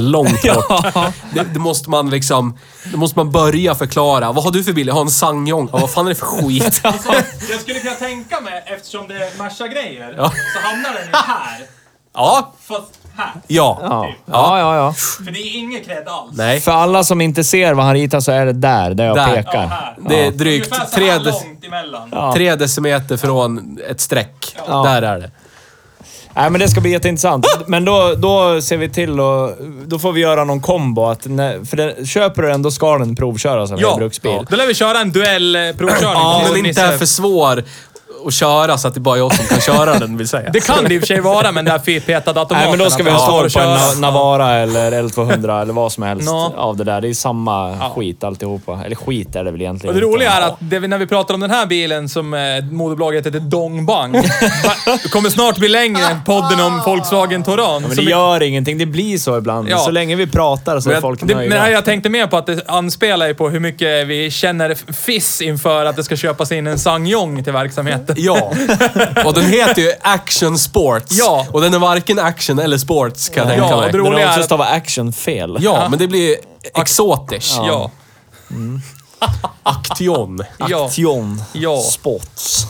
D: långt bort. det, det måste man liksom, det måste man börja förklara. Vad har du för bil? Jag har en Sangyong. Ja, vad fan är det för skit?
C: Jag skulle kunna tänka mig, eftersom det är Merca-grejer, så hamnar den ju här.
D: ja,
C: Fast här.
D: ja.
A: Ja, ja, ja. ja.
C: För det är ingen cred alls.
D: Nej.
A: För alla som inte ser vad han ritar så är det där, där jag
D: Där.
A: pekar.
C: Ja, här.
D: Det är drygt
C: Ungefär så
D: tre,
C: här
D: dec-
C: långt emellan.
D: tre decimeter från ett streck. Där är det.
A: Nej, men det ska bli jätteintressant.
C: Ah!
A: Men då, då ser vi till och Då får vi göra någon kombo. Att när, för den, köper du den, då ska den provköras av en bruksbil.
C: Då lär vi köra en eh, duellprovkörning.
D: Ja,
C: på
D: men inte
C: Nisse.
D: är för svår att köra så att det är bara jag som kan köra den, vill säga.
C: Det kan det i och för sig vara, men där fetade automaten.
A: Nej, men då ska vi ha
C: att
A: svar
C: man får
A: på en
C: köra.
A: Na- Navara eller L200 eller vad som helst
C: Ja.
A: av det där. Det är samma skit alltihopa. Eller skit är det väl egentligen
C: Och det
A: inte.
C: roliga är att det, vi- när vi pratar om den här bilen som eh, moderbolaget heter Dongbang, det kommer snart bli längre än podden om Volkswagen Touran.
A: Men det
C: Som vi-
A: gör ingenting. Det blir så ibland.
C: Ja.
A: Så länge vi pratar så
C: Men
A: är
C: jag-
A: folk
C: det, men
A: nöjda.
C: här jag tänkte mer på att det anspelar ju på hur mycket vi känner f- fiss inför att det ska köpas in en Sangyong till verksamheten.
D: Ja. Och den heter ju Action Sports.
C: Ja.
D: Och den är varken action eller sports kan jag
C: Ja,
D: tänka mig.
C: och det
A: Den
C: roliga
A: har
C: är
A: också
C: att-
A: stavat action fel.
D: Ja, men det blir exotiskt.
C: Ja.
D: Aktion.
C: Ja.
A: Action
C: Ja.
A: Sports.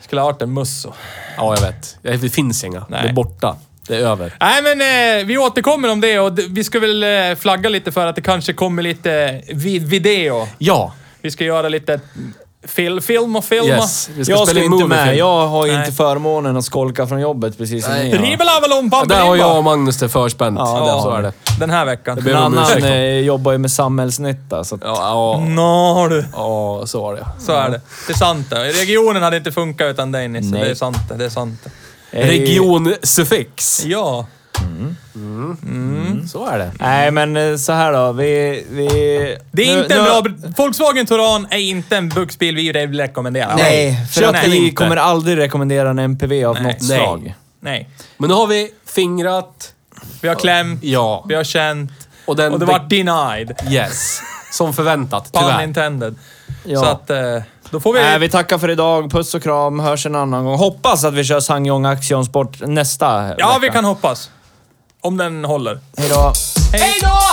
C: Skulle ha varit en musso.
D: Ja, jag vet. Det finns inga. Det är borta. Det är över.
C: Nej, men eh, vi återkommer om det och d- vi ska väl eh, flagga lite för att det kanske kommer lite vi- video.
D: Ja.
C: Vi ska göra lite fil- film och filma.
D: Yes. Vi ska
A: Jag
D: spela
A: ska
D: in
A: inte med.
D: moviefilm.
A: Jag har ju
C: Nej.
A: inte förmånen att skolka från jobbet precis som ni har.
C: Ribelavalom
D: Där har jag och Magnus det förspänt.
A: Ja, där
D: så
A: har
D: är det.
C: Den här veckan.
D: blir-
A: En
D: ber om
A: annan
D: ursäkt.
A: eh, jobbar ju med samhällsnytta. Så att,
D: Ja, ja,
C: Nå du.
D: ja, så var det.
C: Så är det. Det är sant det. Regionen hade inte funkat utan dig Nisse.
A: Nej.
C: Det är sant det. Det är sant det.
D: Eh, Regionsuffix.
C: Ja.
D: Så är det.
A: Nej, men eh, så här då. Vi... vi
C: Det är
A: nu-
C: inte
A: nu-
C: en bra... Volkswagen Touran är inte en bruksbil vi re- rekommenderar.
B: Nej,
A: För att
C: Nej,
A: vi
C: inte.
A: kommer aldrig rekommendera en MPV av något
C: Nej.
A: slag.
C: Nej.
D: Men nu har vi fingrat.
C: Vi har klämt.
D: Ja.
C: Vi har känt.
D: Och den...
C: Och det vart denied.
D: Yes. Som förväntat,
C: Pun
D: tyvärr.
C: intended.
A: Ja.
C: Så att eh, då får vi...
A: Nej, vi tackar för idag. Puss och kram. Hörs en annan gång. Hoppas att vi kör Sangyong Action Sport nästa
C: ja,
A: vecka.
C: vi kan hoppas. Om den håller.
A: Hej då.
C: Hej då!